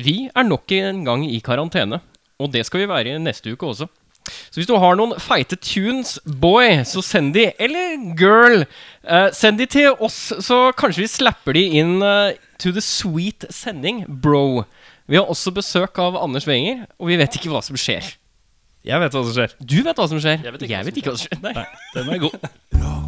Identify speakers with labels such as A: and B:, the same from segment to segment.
A: Vi er nok en gang i karantene, og det skal vi være i neste uke også. Så hvis du har noen feite tunes, boy, så send de, eller girl, eh, send de til oss, så kanskje vi slapper de inn eh, to the sweet sending, bro. Vi har også besøk av Anders Wenger, og vi vet ikke hva som skjer.
B: Jeg vet hva som skjer.
A: Du vet hva som skjer.
C: Jeg vet ikke
A: Jeg
C: hva som
A: vet ikke hva som skjer. Nei.
B: Den er god.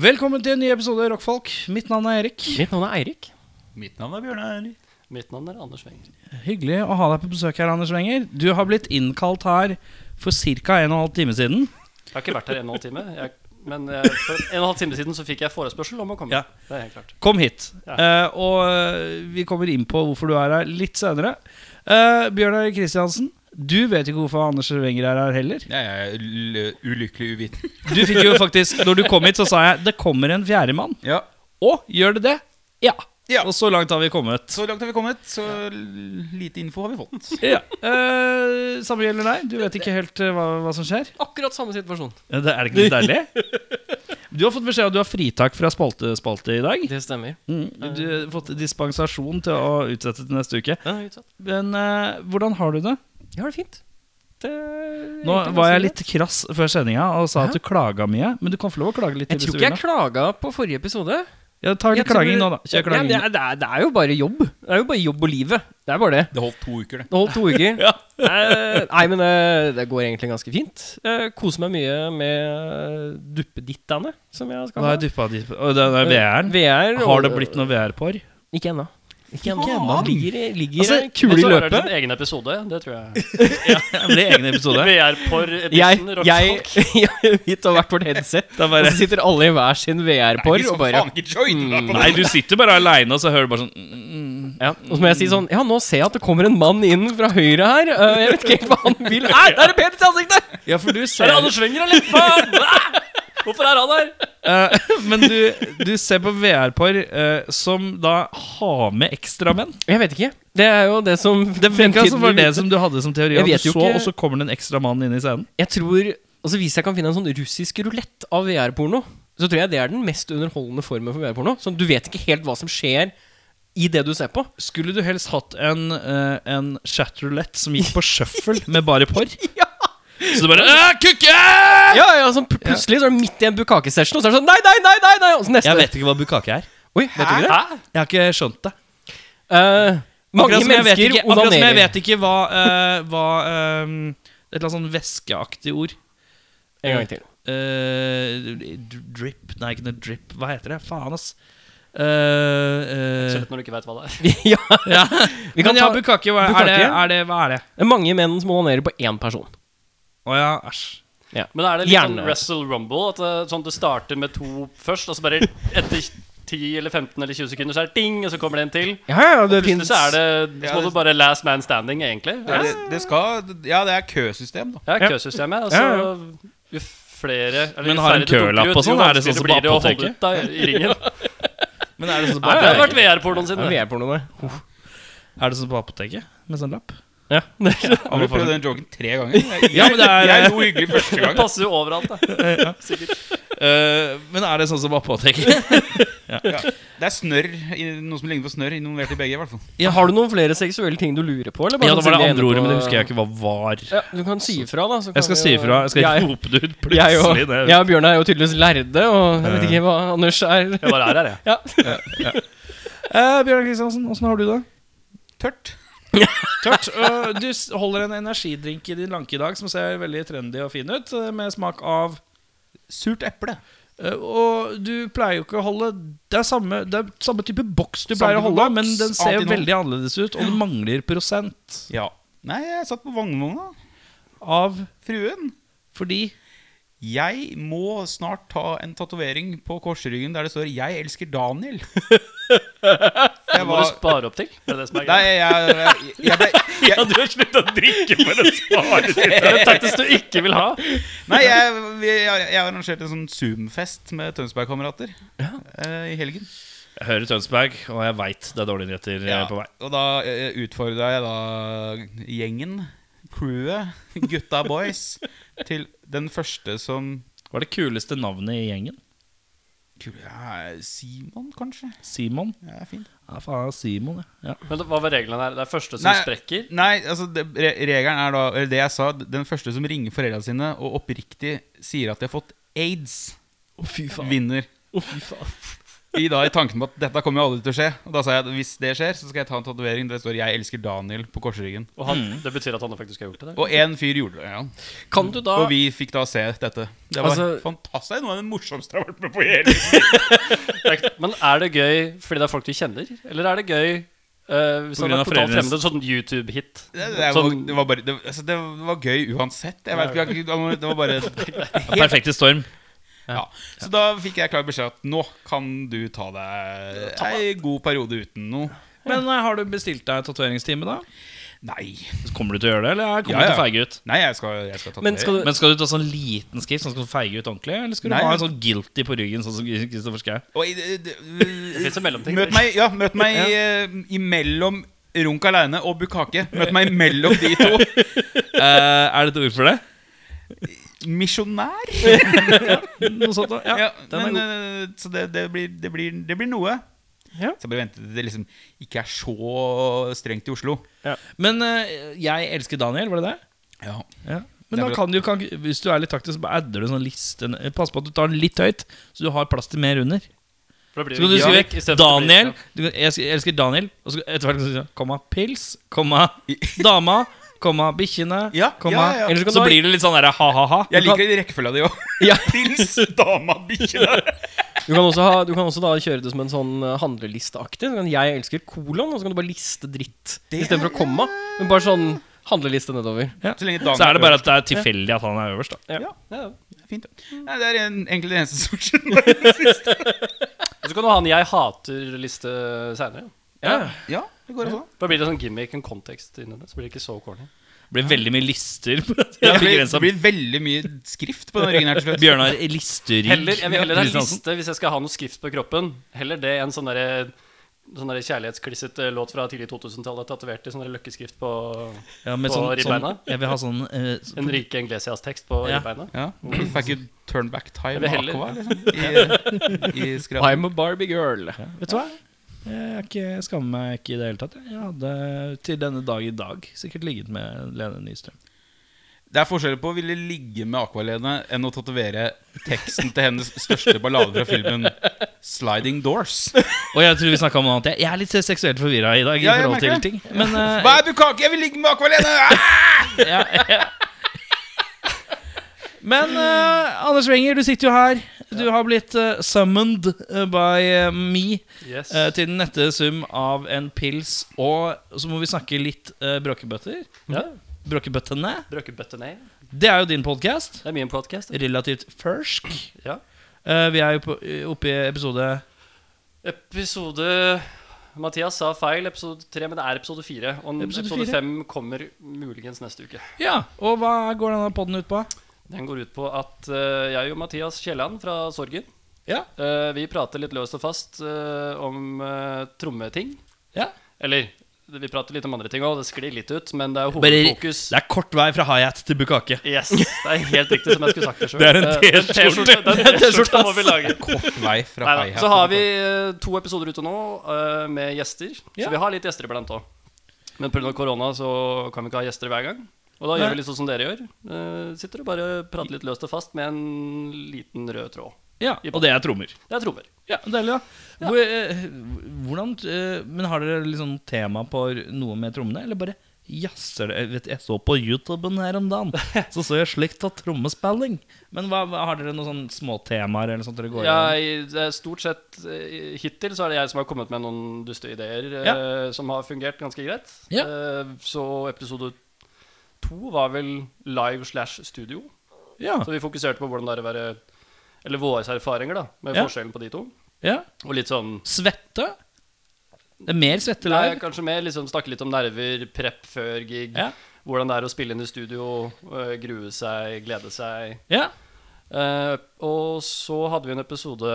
B: Velkommen til en ny episode av Rockfolk. Mitt navn er Erik.
A: Mitt navn er Eirik.
D: Mitt navn er Bjørnar.
C: Mitt navn er Anders Wenger.
B: Hyggelig å ha deg på besøk her, Anders Wenger. Du har blitt innkalt her for ca. en og en halv time siden.
C: Jeg har ikke vært her en og en halv time. Jeg, men jeg, for en og en halv time siden så fikk jeg forespørsel om å komme.
B: Ja.
C: Det er helt klart.
B: Kom hit.
C: Ja.
B: Eh, og eh, vi kommer inn på hvorfor du er her litt senere. Eh, Bjørnar Kristiansen, du vet ikke hvorfor Anders Wenger er her heller.
D: Jeg er l- ulykkelig uvitende.
B: Du fikk jo faktisk, når du kom hit, så sa jeg 'det kommer en fjerdemann'.
D: Ja.
B: Og gjør det det? Ja.
D: Ja.
B: Og så langt har vi kommet.
D: Så langt har vi kommet, så l- lite info har vi fått.
B: Ja. Eh, samme gjelder deg. Du vet ikke helt eh, hva, hva som skjer.
A: Akkurat samme situasjon.
B: Ja, Det er ikke litt deilig? Du har fått beskjed om at du har fritak fra spalte, spalte i dag.
A: Det stemmer.
B: Mm. Du har fått dispensasjon til å utsette til neste uke.
A: Den er utsatt.
B: Men eh, hvordan har du det?
A: Jeg har det fint. Det
B: Nå var jeg litt krass før sendinga og sa at du klaga mye. Men du kan få lov å klage litt.
A: Jeg
B: til
A: tror ikke
B: hvis du
A: jeg
B: vil nå.
A: klaga på forrige episode.
B: ja, Ta litt
A: Jeg tror-
B: klaging nå, da.
A: Ja,
B: Kjør klaging.
A: men det, er- det, er, det er jo bare jobb. Det er jo bare jobb og livet. Det er bare det.
D: Det holdt to uker, det.
A: Det holdt to uker. Eh, Nei, men eh, det går egentlig ganske fint. Jeg koser meg mye med eh, duppedittene som jeg Eh, har
B: Da har
A: skaffa.
B: jeg dyppet dit. Å, det er VR-en.
A: VR.
B: Har det blitt noe VR-porr?
A: Ikke ennå. Ikke ennå.
D: ennå.
A: Ligger, ligger
B: Altså,
A: en kule
C: Men
A: i
C: så hører du
A: løpet.
C: en egen episode, det tror jeg.
B: Det blir egen episode.
C: VR for
A: Jeg,
C: edition
A: jeg,
C: rockfolk.
A: jeg mitt har vært vårt headset.
B: Det er
A: Og
B: bare,
A: så sitter alle i hver sin
D: Nei,
A: VR-porr
D: vi
A: og
D: skal
A: bare
D: Liksom, faen ikke joine deg på
B: nei,
D: det.
B: du sitter bare aleine, og så hører du bare sånn mm,
A: ja. Og så må jeg si sånn Ja, nå ser jeg at det kommer en mann inn fra høyre her. eh, jeg vet ikke helt hva han vil Nei, der er det Peters i ansiktet!
B: Ja, for du
C: Er
B: ser
C: det Anders Wenger, eller? Faen! Ah! Hvorfor er han her?
B: Eh, Men du, du ser på VR-porr eh, som da har med ekstramenn.
A: Jeg vet ikke. Det er jo det som
B: Det virka som var
A: fremtiden-
B: det som du hadde som teori.
A: Jeg
B: At du
A: vet jo
B: så,
A: ikke-
B: og så kommer det en ekstra mann inn i scenen.
A: Jeg tror Altså Hvis jeg kan finne en sånn russisk rulett av VR-porno, så tror jeg det er den mest underholdende formen for VR-porno. Sånn, Du vet ikke helt hva som skjer i det du ser på.
B: Skulle du helst hatt en, uh, en chatroulette som gikk på shuffle med bare porr?
A: Ja.
B: Så du bare «Æ, Kukke!
A: Ja, ja, sånn pl- Plutselig så er du midt i en bukake-session, og så er det sånn Nei, nei, nei! nei, nei Og så neste
B: Jeg vet ikke hva bukake er.
A: Oi, vet du ikke det?
C: Hæ?
B: Jeg har ikke skjønt det.
A: Eh, mange
B: Akkurat som jeg vet
A: mennesker
B: ikke- Akkurat som jeg
A: onanerer.
B: vet ikke hva, eh, hva eh, Et eller annet sånn væskeaktig ord.
A: En gang til.
B: Eh, d- drip Nei, ikke noe drip. Hva heter det? Faen, ass. Eh, eh,
C: Selv når du ikke vet hva det er.
A: ja,
B: ja.
A: vi kan
B: Men ja,
A: ta
B: bukake. Hva
A: Bukkake?
B: er, det, er det? Hva er det?
A: Det er mange menn som onanerer på én person.
B: Å ja, æsj.
C: Men er det litt sånn
A: Gjerne.
C: Wrestle Rumble? At det, sånn, det starter med to først, og så bare etter 10 eller 15 eller 20 sekunder så er det ding, og så kommer det en til.
A: Ja, ja, det
C: Plutselig så er det Så
D: Ja,
C: må
D: det-
C: du bare last man standing, egentlig.
B: Mm.
D: Ja, det, det skal Ja, det er køsystem, da.
C: Ja, køsystemet. Altså,
B: Ja,
C: jo flere eller
B: Men
C: jo
B: har en
C: færre du dunker
B: kølapp
C: ut,
B: og sånn?
C: jo
B: Er det sånn
C: vanskeligere
B: som
C: blir det
B: på
C: å holde
B: apoteket?
C: ut da, i ringen.
B: Men er det sånn på
C: Det har
B: apoteket?
C: vært VR-pornoen sin.
A: Ja,
C: det.
A: VR-pornoen, det.
B: Er det sånn på apoteket? Med sånn lapp?
A: Ja.
D: Har du prøvd den joken tre ganger? Jeg,
B: Ja, men det er-
D: jeg lo hyggelig første
C: Det
D: gang.
C: passer jo overalt, da.
B: Eh, men er det sånn som på apoteket?
D: Ja. Det er snørr, i- noe som ligner på snørr, involvert i begge, i hvert fall.
A: Ja, har du noen flere seksuelle ting du lurer på? Eller
B: ja,
A: sånn
B: det var det
A: siden vi er
B: andre
A: inne
B: ordet,
A: på-
B: men det husker jeg ikke hva var.
A: Ja, du kan si ifra, da. Så kan
B: Jeg skal
A: vi
B: si
A: jo-
B: ifra. Jeg skal
A: Jeg-
B: ikke rope det
A: Jeg
B: ut
A: og,
B: plutselig. Det.
A: jeg og Bjørn er jo tydeligvis lærde, og jeg vet ikke hva Anders er.
C: Jeg bare er her, jeg.
A: Ja.
B: Eh, Bjørnar Kristiansen, åssen har du det?
D: Tørt.
B: Tørt. Eh, du s- holder en energidrink i din lanke i dag som ser veldig trendy og fin ut, eh, med smak av
D: Surt eple.
B: Eh, Og du pleier jo ikke å holde Det er samme, det er samme type boks du
D: Samme
B: pleier å
D: type
B: holde,
D: boks,
B: men den ser
D: annet innhold.
B: veldig annerledes ut, og den mangler prosent
D: Ja. Nei, jeg satt på vannvogna.
B: av
D: Fruen.
B: fordi
D: Jeg må snart ta en tatovering på korsryggen der det står 'Jeg elsker Daniel'.
C: Det
D: Jeg
C: må du
D: var,
C: spare opp til. Det er det som er
D: nei,
C: greit.
D: jeg, jeg, jeg, ble, jeg,
C: du har slutta å drikke for å spare til det. er en taktisk du ikke vil ha.
D: nei jeg, jeg, jeg arrangerte en sånn Zoom-fest med Tønsberg-kamerater eh, i helgen.
B: Jeg hører Tønsberg, og jeg veit det er dårlige nyheter eh,
D: Ja,
B: på vei.
D: Og da eh, utfordra jeg da gjengen, crewet, gutta boys, til den første som
B: Hva er det kuleste navnet i gjengen?
D: ja, Simon, kanskje?
B: Simon?
D: Ja, fint.
B: Ja, faen, Simon, ja. ja.
C: Men hva var reglene her? Det er første som
D: Nei.
C: sprekker.
D: Nei, altså det, re regelen er da eller Det jeg sa, den første som ringer foreldra sine og oppriktig sier at de har fått aids, vinner. I da i tanken på at dette kommer jo aldri til å skje. Og da sa jeg at hvis det skjer, så skal jeg ta en tatovering der det står 'Jeg elsker Daniel' på korsryggen.
C: Og han,
B: Mm.
C: det betyr at han faktisk har gjort det? Der.
D: Og én fyr gjorde det. Ja.
A: Kan du da
D: Og vi fikk da se dette. Det var
A: Altså-
D: fantastisk. Noe av det morsomste jeg har vært med på i hele livet.
C: Det er ikke- Men er det gøy fordi det er folk du kjenner, eller er det gøy eh, hvis
B: På
C: det
B: grunn
C: er
B: av
C: totalt
B: foreldrenes-
C: fremmed, sånn YouTube-hit?
D: Det, det, var,
C: Sånn-
D: det, var bare, det, altså, det var gøy uansett. Jeg vet ikke, jeg- det var bare
B: Perfekte storm.
D: Ja. Så da fikk jeg klar beskjed at nå kan du ta deg ei god periode uten noe.
E: Men eh, har du bestilt deg tatoveringstime, da?
D: Nei.
B: Kommer du til å gjøre det, eller er- kommer
D: Ja,
B: du til å
D: ja.
B: feige ut?
D: Nei, jeg skal, jeg skal ta
A: Men skal du
B: Men skal du ta sånn liten skrift, sånn skal du feige ut ordentlig? Eller skal du
D: Nei,
B: ha
D: men-
B: en sånn guilty på ryggen, sånn som Kristoffer Schau?
D: Oi, det- det- det-
C: finnes en mellomting.
D: Møt meg, ja, møt meg eh, imellom Runk aleine og Bukake. Møt meg imellom de to.
B: er det et ord for det?
D: Misjonær.
E: Noe sånt, da? Ja.
D: Ja, men, eh, så det, det, blir, det, blir, det blir noe.
A: Ja.
D: Så jeg bare venter til det liksom ikke er så strengt i Oslo.
B: Men eh, jeg elsker Daniel, var det det?
D: Ja.
B: Ja.
D: Det
B: Men
D: er
B: da
D: bra.
B: kan du, kan, hvis du er litt taktisk, så bare adder du en sånn liste en- Pass på at du tar den litt høyt, så du har plass til mer under.
C: For da blir
B: Så kan du
C: det
B: skrive
C: gimmick i stedet for at det blir-
B: Daniel. Du, kan- jeg, elsker- jeg elsker Daniel. Og så etter hvert kan du si komma pils, komma dama, komma bikkjene,
D: Ja,
B: komma
D: ja, ja.
B: Eller så, kan
A: Så
B: du, blir det litt sånn derre ha-ha-ha.
D: Jeg liker det i rekkefølga di òg.
A: Ja.
D: Pils, dama, bikkje der.
A: Du kan også, ha, du kan også da kjøre det som en sånn eh, handlelisteaktig. Du kan, Jeg elsker kolon, og så kan du bare liste dritt
D: Det
A: istedenfor å komme. Men bare sånn handleliste nedover.
D: Så lenge
B: Så er det bare at det er tilfeldig at han er øverst, da.
D: Fint, ja. Mm. Nei, det er en, egentlig det eneste som skjer.
C: Og så kan du ha en 'jeg hater'-liste seinere.
D: Ja, det går også.
C: Da blir det sånn gimmick, en kontekst inni det. Så blir det ikke så corny.
B: Det blir veldig mye lister. på det.
D: Det blir,
B: Begrenset
D: det blir veldig mye skrift på den ryggen her til slutt.
B: Bjørnar Listerygg.
C: Heller, jeg vil heller ha en
B: Kristiansen.
C: liste hvis jeg skal ha noe skrift på kroppen. Heller det enn sånn derre Sånn der kjærlighetsklissete låt fra tidlig 2000-tallet tatovert i sånn der løkkeskrift på
B: Ja, med
C: på
B: sånn, sånn,
C: ribbeina?
B: jeg vil ha sånn eh, så-
C: Enrique Iglesias-tekst på
B: Ja.
C: ribbeina.
D: Ja, vi Fikk jo turn back time
C: Jeg vil
D: med
C: heller-
D: Aqua, liksom. I, i skrapen.
A: I'm a Barbie girl.
B: Vet du hva? Jeg, er ikke, jeg skammer meg ikke i det hele tatt. jeg. Jeg hadde til denne dag i dag sikkert ligget med Lene Nystrøm.
D: Det er forskjell på å ville ligge med Aqualene enn å tatovere teksten til hennes største ballade fra filmen 'Sliding Doors'.
B: Og jeg tror vi snakket om noe annet. Jeg- Jeg er litt seksuelt forvirra i dag. i
D: Ja, jeg
B: forhold til
D: merker
B: ting Men eh,
D: Hva er bukake? Jeg vil ligge med Aqualene! Ah!
B: ja, ja. Men eh, Anders Wenger, du sitter jo her. Du har blitt eh, summoned eh, by eh, me
C: Yes.
B: eh, til den nette sum av en pils, og så må vi snakke litt uh, bråkebøtter.
C: ja.
B: Bråkebøttene.
C: Brøkkebøtte ned.
B: Det er jo din podkast.
C: Det er min podcast.
B: Relativt fersk.
C: Ja.
B: Eh, vi er jo på, oppe i episode
C: Episode Mathias sa feil, episode tre, men det er episode fire. Og
B: Episode
C: episode,
B: fire.
C: fem kommer muligens neste uke.
B: Ja, Og hva går denne poden ut på?
C: Den går ut på at eh, jeg og Mathias Kielland fra Sorgen
B: Ja.
C: eh, Vi prater litt løst og fast eh, om eh, trommeting.
B: Ja.
C: Eller vi prater litt om andre ting òg, det sklir litt ut, men det er
B: Bare,
C: hovedfokus.
B: det er kort vei fra hi-hat til bukake.
C: Yes, det er helt riktig som jeg skulle sagt det Eh, sjøl.
B: Det er en
C: T-skjorte må vi lage.
D: Nei, fra
C: Neida,
D: hi-hat
C: Så har vi
D: til-
C: eh, to episoder ute nå eh, med gjester.
B: Ja.
C: Så vi har litt gjester iblant òg. Men pga. korona så kan vi ikke ha gjester hver gang. Og da
B: Nei.
C: gjør vi litt sånn som dere gjør. Eh, sitter og bare prater litt løst og fast med en liten rød tråd.
B: Ja, Og det er trommer.
C: Det er trommer.
B: Ja, Deilig, da. Hvor, eh, hvordan, eh, men har dere liksom tema på r- noe med trommene, eller bare jazzer det? Jeg Vet, jeg så på YouTuben her om dagen, så så jeg slikt av trommespilling. Men hva, hva, har dere noen sånne småtemaer eller sånt dere går gjennom?
C: Jeg, det er stort sett eh, Hittil så er det jeg som har kommet med noen duste ideer eh, som har fungert ganske greit.
B: Ja.
C: Eh, så episode to var vel live slash studio.
B: Ja.
C: Så vi fokuserte på hvordan det er å være Eller våre erfaringer, da, med
B: Ja.
C: forskjellen på de to.
B: Ja.
C: Og litt sånn
B: Svette? Det er mer svette
C: Nei,
B: live?
C: kanskje mer liksom snakke litt om nerver, prep før gig.
B: Ja.
C: Hvordan det er å spille inn i studio, øh, grue seg, glede seg.
B: Ja.
C: Eh, og så hadde vi en episode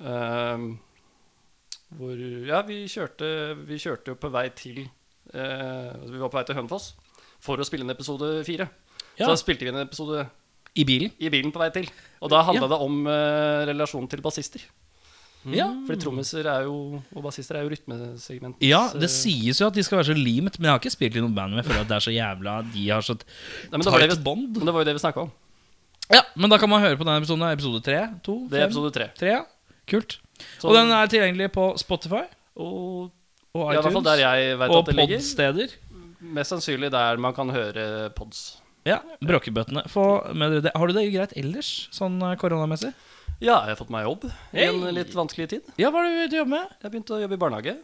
C: eh, hvor Ja, vi kjørte, vi kjørte jo på vei til eh, Vi var på vei til Hønefoss for å spille inn episode fire.
B: Ja.
C: Så da spilte vi inn en episode
B: I bilen?
C: i bilen på vei til. Og da handla det om eh, relasjonen til bassister.
B: Mm. Ja.
C: Fordi trommiser er jo, og bassister er jo rytmesegment. Eh,
B: Ja, det sies jo at de skal være så limet, men jeg har ikke spilt i noe band med føler at det er så jævla De har så
C: men det var det
B: tight
C: vi-
B: bånd.
C: Men det var jo det vi snakka om.
B: Ja, men da kan man høre på denne episoden. Episode tre? To?
C: Det er episode Sånn. tre.
B: tre. ja. Kult.
C: Så-
B: Og den er tilgjengelig på Spotify
C: Og
B: og
C: ja, i
B: iTunes.
C: hvert fall der jeg vet
B: og
C: at det ligger.
B: podsteder.
C: Mest sannsynlig der man kan høre pods.
B: Ja, Bråkebøttene. Få med dere det. Har du det greit ellers, sånn eh, koronamessig?
C: Ja, jeg har fått meg jobb i en
B: Hey!
C: litt vanskelig tid.
B: Ja, hva er det du jobber med?
C: Jeg begynte å jobbe i barnehage.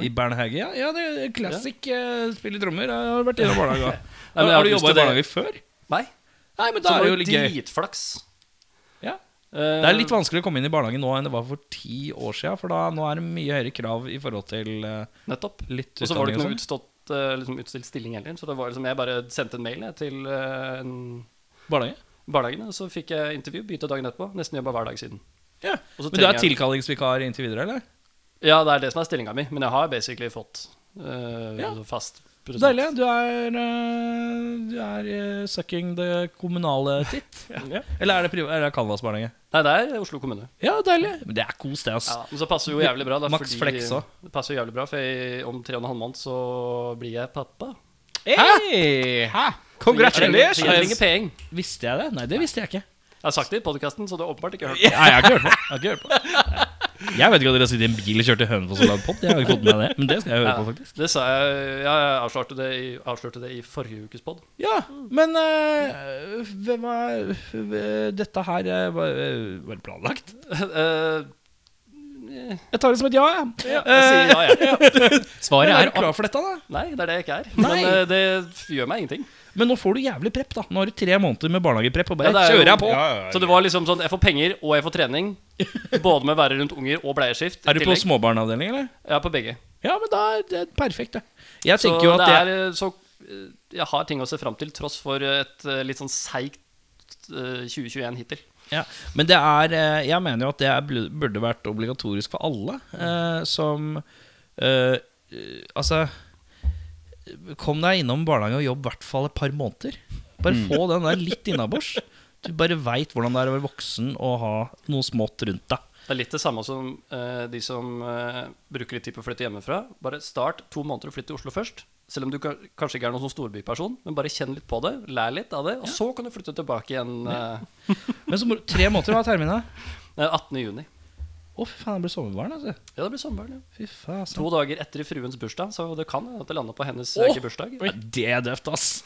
B: I barnehage, ja. ja det er Classic eh, spille trommer. Jeg har vært innom barnehage. også.
C: Nei, men jeg
B: har du
C: ikke lyst
B: jobba i
C: til det.
B: barnehage før?
C: Nei.
B: Nei, men da er
C: Så det
B: det
C: var
B: jo
C: jo
B: litt gøy.
C: dritflaks.
B: Ja.
C: Eh,
B: Det er litt vanskelig å komme inn i barnehagen nå enn det var for ti år siden, for da, nå er det mye høyere krav i forhold til eh,
C: Nettopp.
B: litt
C: Og så var
B: utdanning og
C: det ikke noe
B: sånn.
C: utstått eh, liksom utstilt stilling heller. Så det var liksom, jeg bare sendte en mail jeg, til eh, en-
B: Barnehage?
C: barnehagen, og så fikk jeg intervju. Begynte dagen etterpå. Nesten jobba hver dag siden.
B: Ja.
C: Og
B: Men
C: så
B: du er
C: trenger jeg-
B: tilkallingsvikar inntil videre, eller?
C: Ja, det er det som er stillinga mi, men jeg har basically fått eh,
B: Ja.
C: fast prosent.
B: Deilig. Du er, eh, du er eh, sucking det kommunale titt.
C: Ja.
B: Eller er det, priva- eller er det Canvas-barnehage?
C: Nei, det er Oslo kommune.
B: Ja, deilig. Men det er kos, det, ass.
C: Ja, men så passer jo jævlig bra. Da,
B: Max
C: fordi-
B: Flex også.
C: Det passer jo jævlig bra, for jeg, om tre og en halv måned så blir jeg pappa.
A: Hey!
D: Hæ?
C: Jeg
A: Congratulations!
C: trenger- jeg trenger penger.
B: Visste jeg det? Nei, det visste jeg ikke.
C: Jeg har sagt det i podkasten, så du har åpenbart ikke hørt
B: Nei, jeg har ikke hørt på. Jeg, har ikke hørt på. jeg vet ikke at dere har sittet i en bil og kjørt til Hønefoss og lagd pod. Jeg har ikke fått med meg det, men det skal jeg høre på, faktisk.
C: Det sa jeg, jeg avslørte det i, avslørte det i forrige ukes pod.
B: Ja, men eh, hvem er eh, Dette her eh, var, eh, var det planlagt? Jeg tar det som et ja, jeg.
C: ja, jeg Eh, sier ja, jeg.
A: Svaret
B: Men er
A: er
B: du klar for dette, da?
C: Nei, det er det jeg ikke er.
B: Nei.
C: Men eh, det gjør meg ingenting.
B: Men nå får du jævlig prep, da. Nå har du tre måneder med barnehageprep, og bare
C: Ja, det er jo-
B: kjører jeg på.
D: Ja, ja, ja.
C: Så det var liksom sånn, jeg får penger og jeg får trening. Både med å være rundt unger og bleieskift. i
B: Er du på
C: tillegg.
B: småbarnavdeling, eller?
C: Ja, på begge.
B: Ja, men da er det perfekt, det. Jeg
C: Så
B: tenker jo at
C: det
B: det
C: er eh, så eh, Jeg har ting å se fram til, tross for et eh, litt sånn seigt eh, 2021 hittil.
B: Ja, men det er eh, Jeg mener jo at det er bl- burde vært obligatorisk for alle eh, som eh, eh, Altså Kom deg innom barnehage og jobb i hvert fall et par måneder. Bare
C: Mm.
B: få den der litt innabords. Du bare veit hvordan det er å være voksen og ha noe smått rundt deg.
C: Det er litt det samme som eh, de som eh, bruker litt tid på å flytte hjemmefra. Bare start to måneder og flytt til Oslo først. Selv om du ka- kanskje ikke er noen sånn storbyperson, men bare kjenn litt på det. Lær litt av det, og så kan du flytte tilbake igjen eh,
B: Men så må du tre måneder ha termina.
C: eh, 18. juni
B: Å, fy faen, det blir sommerbarn, altså.
C: Ja, det blir sommerbarn. Ja.
B: Fy faen.
C: To
B: sant.
C: dager etter fruens bursdag, så det kan hende at det lander på hennes
B: Åh!
C: ikke bursdag.
B: Ja, Det er døvt, ass.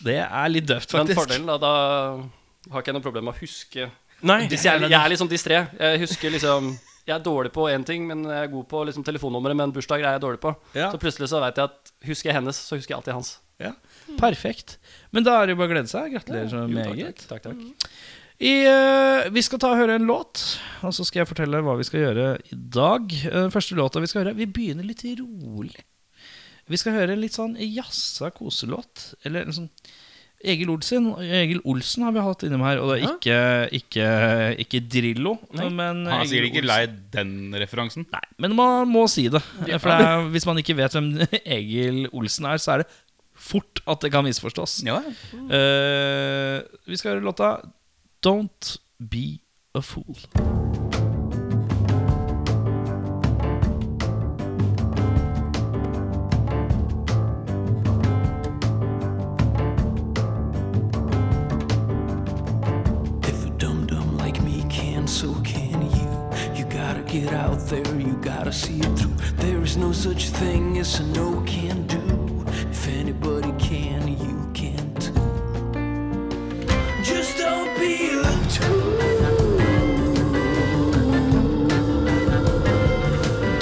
B: Det er litt døvt,
C: Men
B: faktisk.
C: fordelen, da, da har ikke jeg noe problem med å huske
A: Nei.
C: Hvis jeg, jeg er litt sånn distré. Jeg husker liksom Jeg er dårlig på én ting, men jeg er god på liksom, telefonnummeret. Men bursdager er jeg dårlig på.
B: Ja.
C: Så plutselig så vet jeg at husker jeg hennes, så husker jeg alltid hans.
B: Ja. Perfekt. Men da er det jo bare å glede seg. Gratulerer så
C: Jo, takk,
B: meget.
C: takk, takk, takk.
B: I, eh, vi skal ta og høre en låt, og så skal jeg fortelle hva vi skal gjøre i dag. Eh, Den første låta vi skal høre Vi begynner litt rolig. Vi skal høre en litt sånn jazza koselåt. Eller en sånn Egil Olsen, Egil Olsen har vi hatt innom her, og det er ikke, ikke, ikke Drillo. Men
D: Han er
B: Egil
D: sikkert ikke
B: Olsen.
D: lei den referansen.
B: Nei, men man må si det. For det er, hvis man ikke vet hvem Egil Olsen er, så er det fort at det kan misforstås.
D: Ja,
B: Eh, vi skal høre låta 'Don't Be A Fool'.
F: If a dum dum like me can, so can you. You gotta get out there, you gotta see it through. There is no such thing as a no can do. If anybody can, you can too. Just don't be a tool.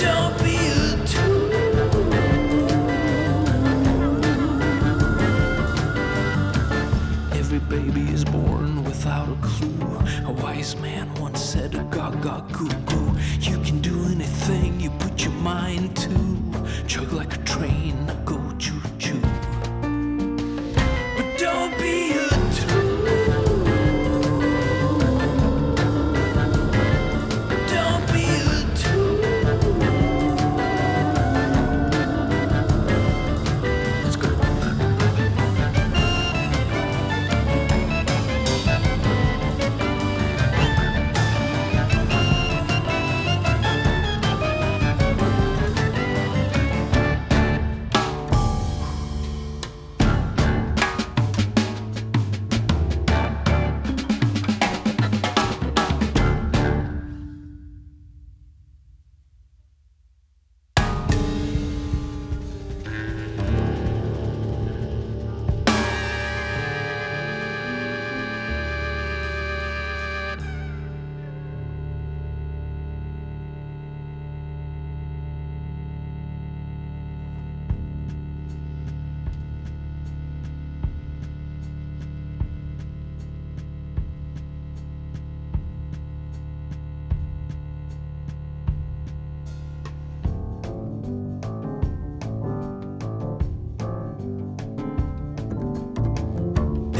F: Don't be a tool. Every baby is born with without a clue. A wise man once said, Gaga goo goo. You can do anything you put your mind to. Chug like a train, go choo choo. But don't be a tool. Don't be a tool. Let's go.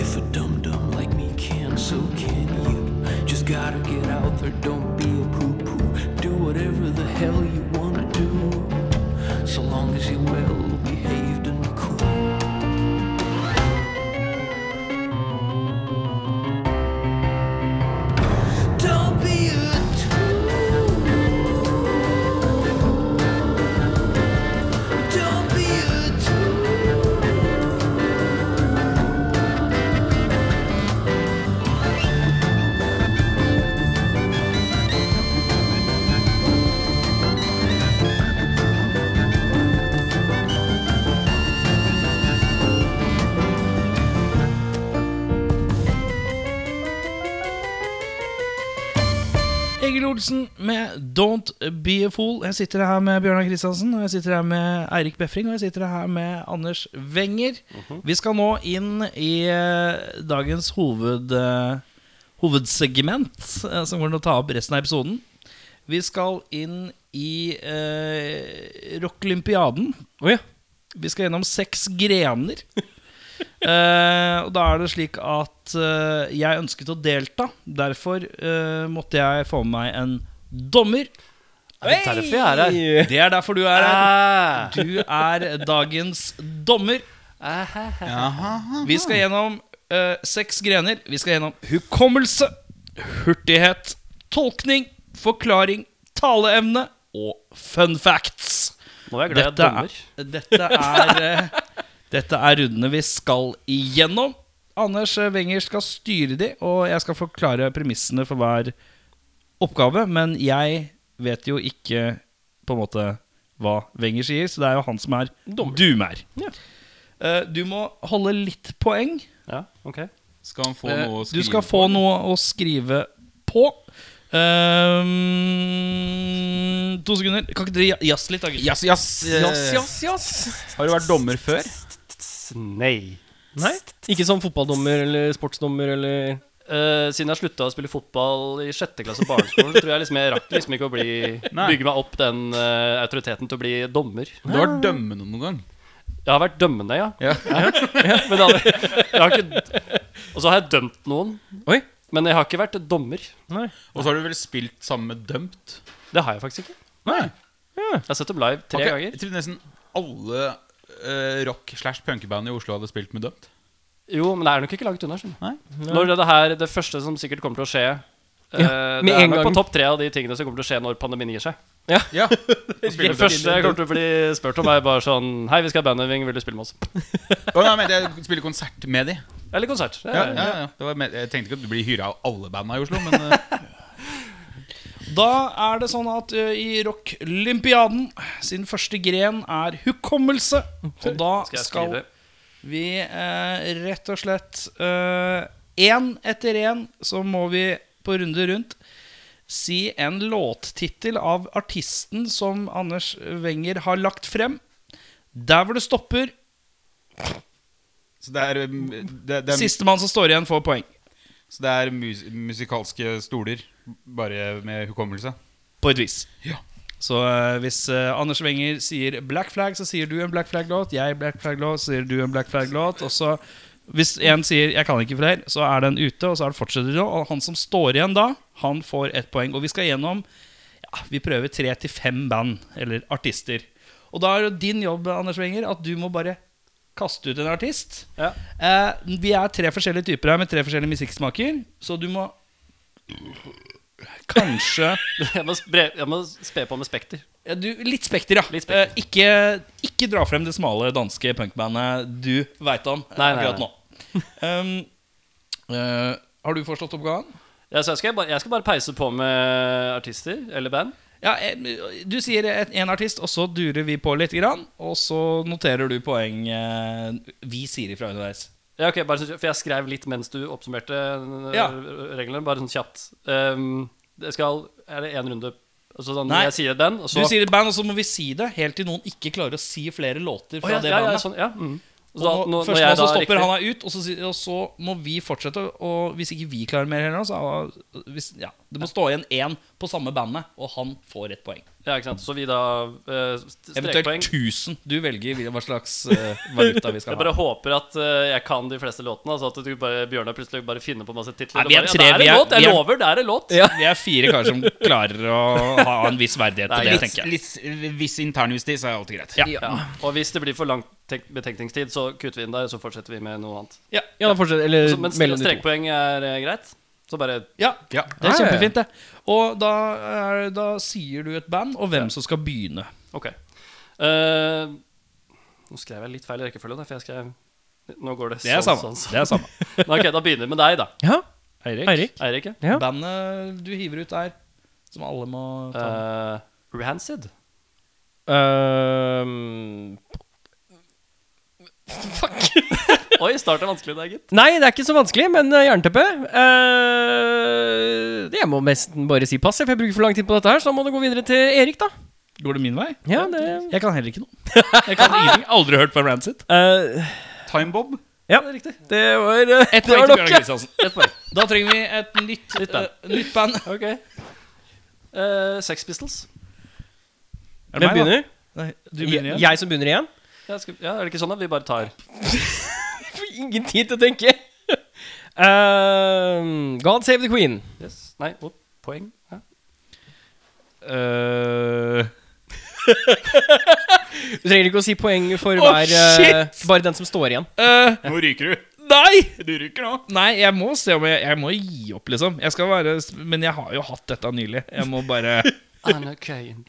F: If a dum dum like me can, so can you. Just gotta get out there, don't be a poo poo. Do whatever the hell you wanna do, so long as you well behaved and cool. Don't be a tool. Don't be a tool.
B: Egil Olsen med 'Don't Be a Fool'. Jeg sitter her med Bjørnar Kristiansen, og jeg sitter her med Eirik Befring, og jeg sitter her med Anders Wenger.
A: Mhm.
B: Vi skal nå inn i eh, dagens hoved, eh, hovedsegment, eh, som går an å ta opp resten av episoden. Vi skal inn i eh, Rocklympiaden.
A: Å ja.
B: Vi skal gjennom seks grener. Eh, og da er det slik at eh, jeg ønsket å delta. Derfor eh, måtte jeg få med meg en dommer.
C: Er det derfor jeg er her?
B: Det er derfor du er her. Du er dagens dommer. Vi skal gjennom eh, seks grener. Vi skal gjennom hukommelse, hurtighet, tolkning, forklaring, taleevne og fun facts.
C: Nå er jeg glad jeg er
B: Dette er,
C: dommer.
B: dette, er, eh, dette er rundene vi skal igjennom. Anders eh, Wenger skal styre de, og jeg skal forklare premissene for hver oppgave. Men jeg vet jo ikke på en måte hva Wenger sier, så det er jo han som er
A: Dommer.
B: dumær.
A: Ja.
B: Eh, Du må holde litt poeng.
C: Ja, ok
D: Skal han få
B: Eh,
D: noe å
B: Du
D: skrive
B: skal få noe å skrive på. Ehm, to sekunder. Kan ikke dere jazze litt, da? gutter?
D: Jass, jass, eh, Har du vært dommer før?
C: Nei.
A: Nei? Ikke som fotballdommer eller sportsdommer eller
C: Eh, siden jeg slutta å spille fotball i sjette klasse på barneskolen, tror jeg liksom jeg rakk liksom ikke å bli,
D: Nei.
C: bygge meg opp den eh, autoriteten til å bli dommer.
D: Du har vært dømmende noen gang.
C: Jeg har vært dømmende, ja.
D: Ja.
C: Men jeg har- jeg har ikke, og så har jeg dømt noen.
A: Oi.
C: Men jeg har ikke vært dommer.
D: Og så har du vel spilt sammen med dømt?
C: Det har jeg faktisk ikke.
D: Nei.
C: Jeg har sett dem live tre
D: Ok,
C: ganger.
D: Jeg trodde nesten alle eh, rock- slash punkeband i Oslo hadde spilt med dømt.
C: Jo, men det er nok ikke langt unna. skjønner du.
D: Nei.
C: Når det, her, det første som sikkert kommer til å skje eh,
A: med
C: Det er
A: en
C: nok
A: gang.
C: på topp tre av de tingene som kommer til å skje når pandemien gir seg.
D: Ja,
C: Det første jeg kommer til å bli spurt om, er bare sånn Hei, vi skal ha bandøving, vil du spille med oss?
D: Å, nei, men jeg spiller konsert med de.
C: Eller konsert. Det
D: Ja,
C: er-
D: ja, ja. Det var med, jeg tenkte ikke at du blir hyra av alle banda i Oslo, men eh,
B: Da er det sånn at ø, i Rocklympiaden sin første gren er hukommelse. Og da
C: Skal jeg
B: skal
C: skrive
B: vi eh, rett og slett én etter én så må vi på runde rundt si en låttittel av artisten som Anders Wenger har lagt frem. Der hvor det stopper,
D: Så det er, um, det, det er
B: sistemann som står igjen, får poeng.
D: Så det er mus musikalske stoler, bare med hukommelse.
B: På et vis.
D: Ja.
B: Så eh, hvis eh, Anders Wenger sier 'Black Flag', så sier du en Black Flag-låt. Jeg Black Flag-låt, så sier du en Black Flag-låt. Og så hvis en sier 'Jeg kan ikke flere', så er den ute, og så er det fortsetter det. Og han som står igjen da, han får ett poeng. Og vi skal gjennom ja, Vi prøver tre til fem band, eller artister. Og da er det din jobb, Anders Wenger, at du må bare kaste ut en artist.
C: Ja.
B: Eh, vi er tre forskjellige typer her med tre forskjellige musikksmaker, så du må Kanskje
C: Jeg må, spre, jeg må spe på med Spekter.
B: ja, du, litt Spekter, ja.
C: Litt Spekter.
B: Eh, ikke, ikke dra frem det smale danske punkbandet du veit om eh,
C: Nei, nei,
B: akkurat
C: nei.
B: nå. Um, eh, har du forstått oppgaven?
C: Ja, så jeg, skal bare, jeg skal bare peise på med artister eller band.
B: Ja, eh, Du sier et- en artist, og så durer vi på litt, grann, og så noterer du poeng eh, vi sier ifra underveis.
C: Ja, ok, bare så, For jeg skrev litt mens du oppsummerte øh,
B: Ja.
C: reglene, bare sånn kjapt. Um, det skal, er det én runde altså sånn,
B: Nei.
C: Jeg sier et band, og
B: Du
C: så
B: sier et band, og så må vi si det helt til noen ikke klarer å si flere låter
C: Å,
B: fra
C: ja,
B: det
C: ja,
B: bandet.
C: ja, sånn, ja, mm. Og så
B: Og
C: da-
B: nå,
C: når- når
B: først
C: jeg
B: nå så
C: da
B: stopper
C: riktig-
B: han deg ut, og så, si- og så må vi fortsette. Og hvis ikke vi klarer mer heller, så er- hvis, ja, Det må stå igjen én på samme bandet, og han får ett poeng.
C: Ja, ikke sant. Så vi da eh, st-
B: Eventuelt
C: Strekpoeng.
B: 1000. Du velger hvil- hva slags eh, valuta vi skal ha.
C: Jeg bare håper at eh, jeg kan de fleste låtene. Altså at du bare, Bjørnar plutselig bare finner på masse
B: Nei,
C: titler.
B: vi er
C: og
B: tre,
C: bare,
B: vi
C: ja,
B: er- vi
C: der er det låt! Jeg
B: er-
C: lover, der er låt!
B: Vi er fire karer som klarer å ha en viss verdighet til det, tenker jeg.
D: Litt, hvis internjustis er alltid greit.
B: Ja.
C: Ja. Og hvis det blir for lang tenk- betenkningstid, så kutter vi inn der, og så fortsetter vi med noe annet.
A: Ja, da fortsetter Eller
C: Så, men
A: mellom de to.
C: strekpoeng er eh, greit? Så bare
B: Ja,
A: Ah, Ja,
B: det er
D: Ja.
A: ja, ja.
B: kjempefint, det. Og da, er, da sier du et band, og hvem som skal begynne.
C: Ok. Eh, nå skrev jeg litt feil i rekkefølgen, for jeg skrev Nå går det
B: Det er
C: sånn,
B: samme.
C: sånn, sånn.
B: Det er samme.
C: Men ok, da begynner vi med deg, da.
A: Ja,
B: Eirik,
A: Eirik.
C: Eirik. ja.
A: Ja.
B: bandet du hiver ut der, som alle må ta.
C: Eh, Rancid.
A: Øhm,
C: Oi, start er vanskelig der, gitt.
A: nei, det er ikke så vanskelig, men eh, jernteppe Eh, Jeg må nesten bare si pass, jeg, for jeg bruker for lang tid på dette her. Så da må du gå videre til Erik, da.
B: Går det min vei?
A: Ja, det
B: Jeg kan heller ikke noe. Jeg kan ingenting. Aldri hørt på Rancid.
A: eh,
D: Timebob.
A: Ja, det er riktig. Det var eh,
B: Ett
A: det
B: poeng
A: var
B: til
A: nok,
B: Bjørnar
A: ja.
B: Kristiansen.
C: Ett poeng.
B: Da trenger vi et nytt, nytt,
C: band.
B: band. nytt band.
C: Ok. Eh, Sex Pistols.
B: Er
A: Hvem
B: det meg, da?
A: begynner?
B: Nei, du begynner igjen.
A: Jeg som begynner igjen?
C: Ja, skal, ja, er det ikke sånn at vi bare tar
A: Får ingen tid til å tenke. Ehm, God save the queen.
C: yes. Nei, opp, poeng. Ja.
A: Du trenger ikke å si poeng for
B: Å,
A: hver eh, Bare den som står igjen.
B: Eh,
D: Nå ryker du.
B: nei!
D: Du ryker nå.
B: Nei, jeg må se om jeg, jeg må gi opp, liksom. Jeg skal være Men jeg har jo hatt dette nylig. Jeg må bare
C: Anna Kane.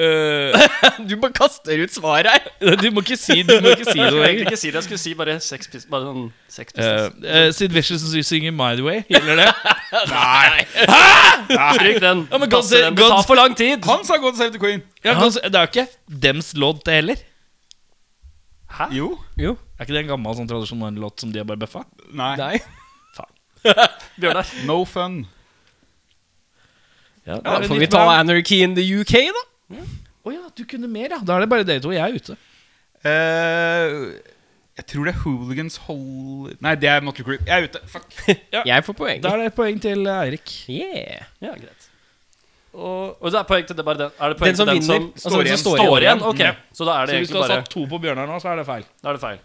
B: eh,
A: Du bare kaster ut svaret her.
B: Du må ikke si, du må ikke si
C: Jeg
B: det
C: skulle egentlig
B: lenger.
C: ikke si det, jeg skulle si bare Sex Pistols. Bare sånn Sex
B: Uh,
C: Pistols.
B: Sid Vicious synger My Way. Gjelder det?
C: Stryk den.
B: men
C: Kaste
B: Guns-
C: den. Det
B: Guns-
C: tar for lang tid.
D: Han sa God save the queen.
B: Ja, kan du se- det er jo ikke dems lodd, det heller.
D: Jo.
A: Jo.
B: Er ikke det en gammel sånn tradisjonell låt som de har bare bøffa?
D: Nei.
A: Nei.
C: Bjørnar.
D: No fun.
B: Ja,
A: Da får vi ta Anarchy in the UK, da.
B: Å ja, du kunne mer, ja. Da er det bare dere to. Jeg er ute.
D: Eh, jeg tror det er Hooligans Hold... Nei, det er Motley Crue. Jeg er ute. Fuck.
A: Jeg får poeng.
B: Da er det et poeng til eh, Eirik.
A: Yeah.
C: Ja, greit.
B: Og
C: Og det er poeng til det bare den. Er det poeng
A: Den som
C: til den
A: vinner,
C: som
A: altså den
D: igjen.
A: som står
C: står
A: igjen.
C: igjen? Ok, så da
B: så
C: er det
B: hvis du
C: egentlig
B: har
C: bare
B: satt to på Bjørnar nå, så er det feil.
C: Da er det feil.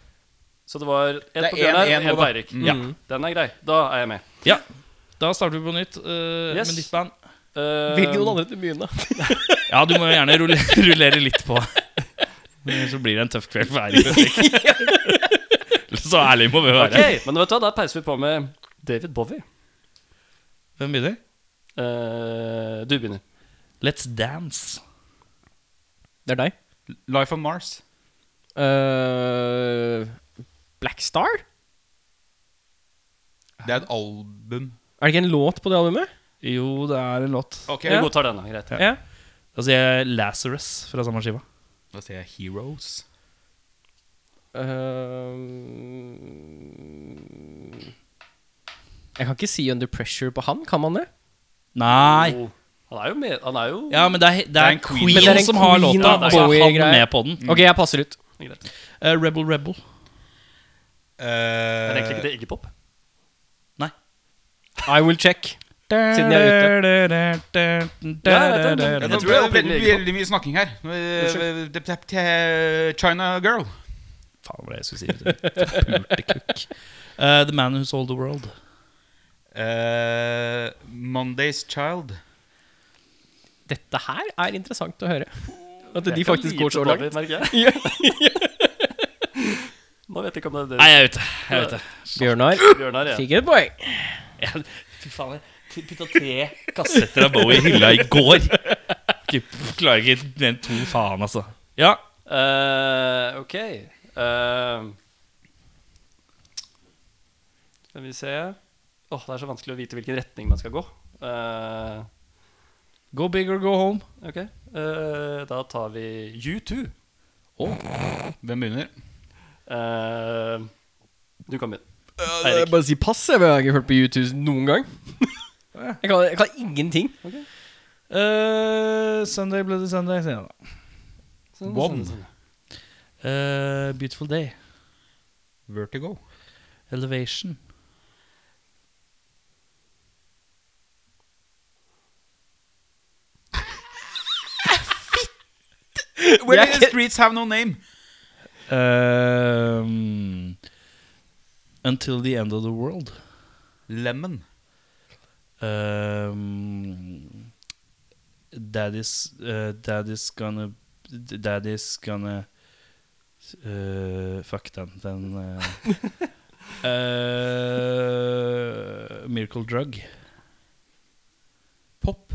C: Så det var ett
D: er
C: på Bjørnar,
D: en, en
C: én
D: nå,
C: på
D: da.
C: Eirik.
D: Mm.
C: Ja, den er grei. Da er jeg med.
B: Ja. Da starter vi på nytt eh,
C: Yes.
B: med nytt band.
C: Eh,
A: Vil noen andre til å begynne?
B: Ja, du må jo gjerne rullere, rullere litt på. Men Så blir det en tøff kveld for Eirik. så ærlig må vi være.
C: Ok, men vet du hva, da peiser vi på med David Bowie.
B: Hvem begynner?
C: Eh, du begynner.
B: Let's Dance.
A: Det er deg.
D: Life on Mars.
A: Uh, Black Star?
D: Det er et album.
A: Er det ikke en låt på det albumet?
B: Jo, det er en låt.
D: Ok,
C: Vi godtar denne. Greit.
A: Ja.
B: Da sier Altså, jeg Lazarus fra samme skiva.
D: Da sier jeg Heroes.
A: Eh, Ehm, jeg kan ikke si Under Pressure på han, kan man det?
B: Nei.
C: Jo, Oh, Han er jo med Han er jo
B: Ja, men det er, det er,
D: en
B: Queen,
D: Queen.
A: Men det er en
B: som har
A: Queen
B: låta,
A: og
B: og Mm. så er han
A: Bowie-greie.
B: med på den.
A: Ok, jeg passer ut.
C: greit.
B: Eh, Rebel Rebel.
D: Eh,
C: Er det egentlig ikke det Iggy Pop?
B: Nei.
A: I will check. Siden jeg er
C: Jeg
D: Jeg
C: tror
D: tror det er
C: det er
D: veldig,
C: veldig
D: veldig mye snakking her. Eh, eh, eh, eh, China Girl.
B: Faen, hva var det jeg skulle si? vet du. Forpulte kukk. Eh, the Man Who Sold The World.
D: Eh, Monday's Child.
A: Dette her er interessant å høre. At de faktisk går så langt.
C: merker jeg. Nå vet jeg ikke om det er
B: Nei,
C: det
B: jeg er ute. Jeg er ute.
A: Bjørnar
C: Bjørnar er.
A: fikk et poeng.
B: Fy faen, jeg putta tre kassetter av Bowie i hylla i går. Ikke- Klarer ikke den to faen, altså. Ja.
C: Eh, ok. Eh, skal vi se Åh, Det er så vanskelig å vite hvilken retning man skal gå. Eh,
B: Go big or go home.
C: ok. Eh, da tar vi U2.
D: Hvem begynner?
C: Eh, du kan begynne.
A: Jeg Eh, bare si pass, jeg. for Jeg har ikke hørt på U2 noen gang. Jeg kan, jeg kan ingenting.
B: Eh, Sunday Bloody Sunday, sier jeg da.
D: One.
B: Eh, beautiful Day.
D: Vertigo.
B: Elevation.
D: When
A: Jeg er
D: did the
A: ikke-
D: streets have no name.
B: Um, until the End of the World.
D: Lemon.
B: Um, daddy's, uh, daddy's gonna Daddy's gonna uh, Fuck den. den uh, uh, Miracle Drug.
D: Pop.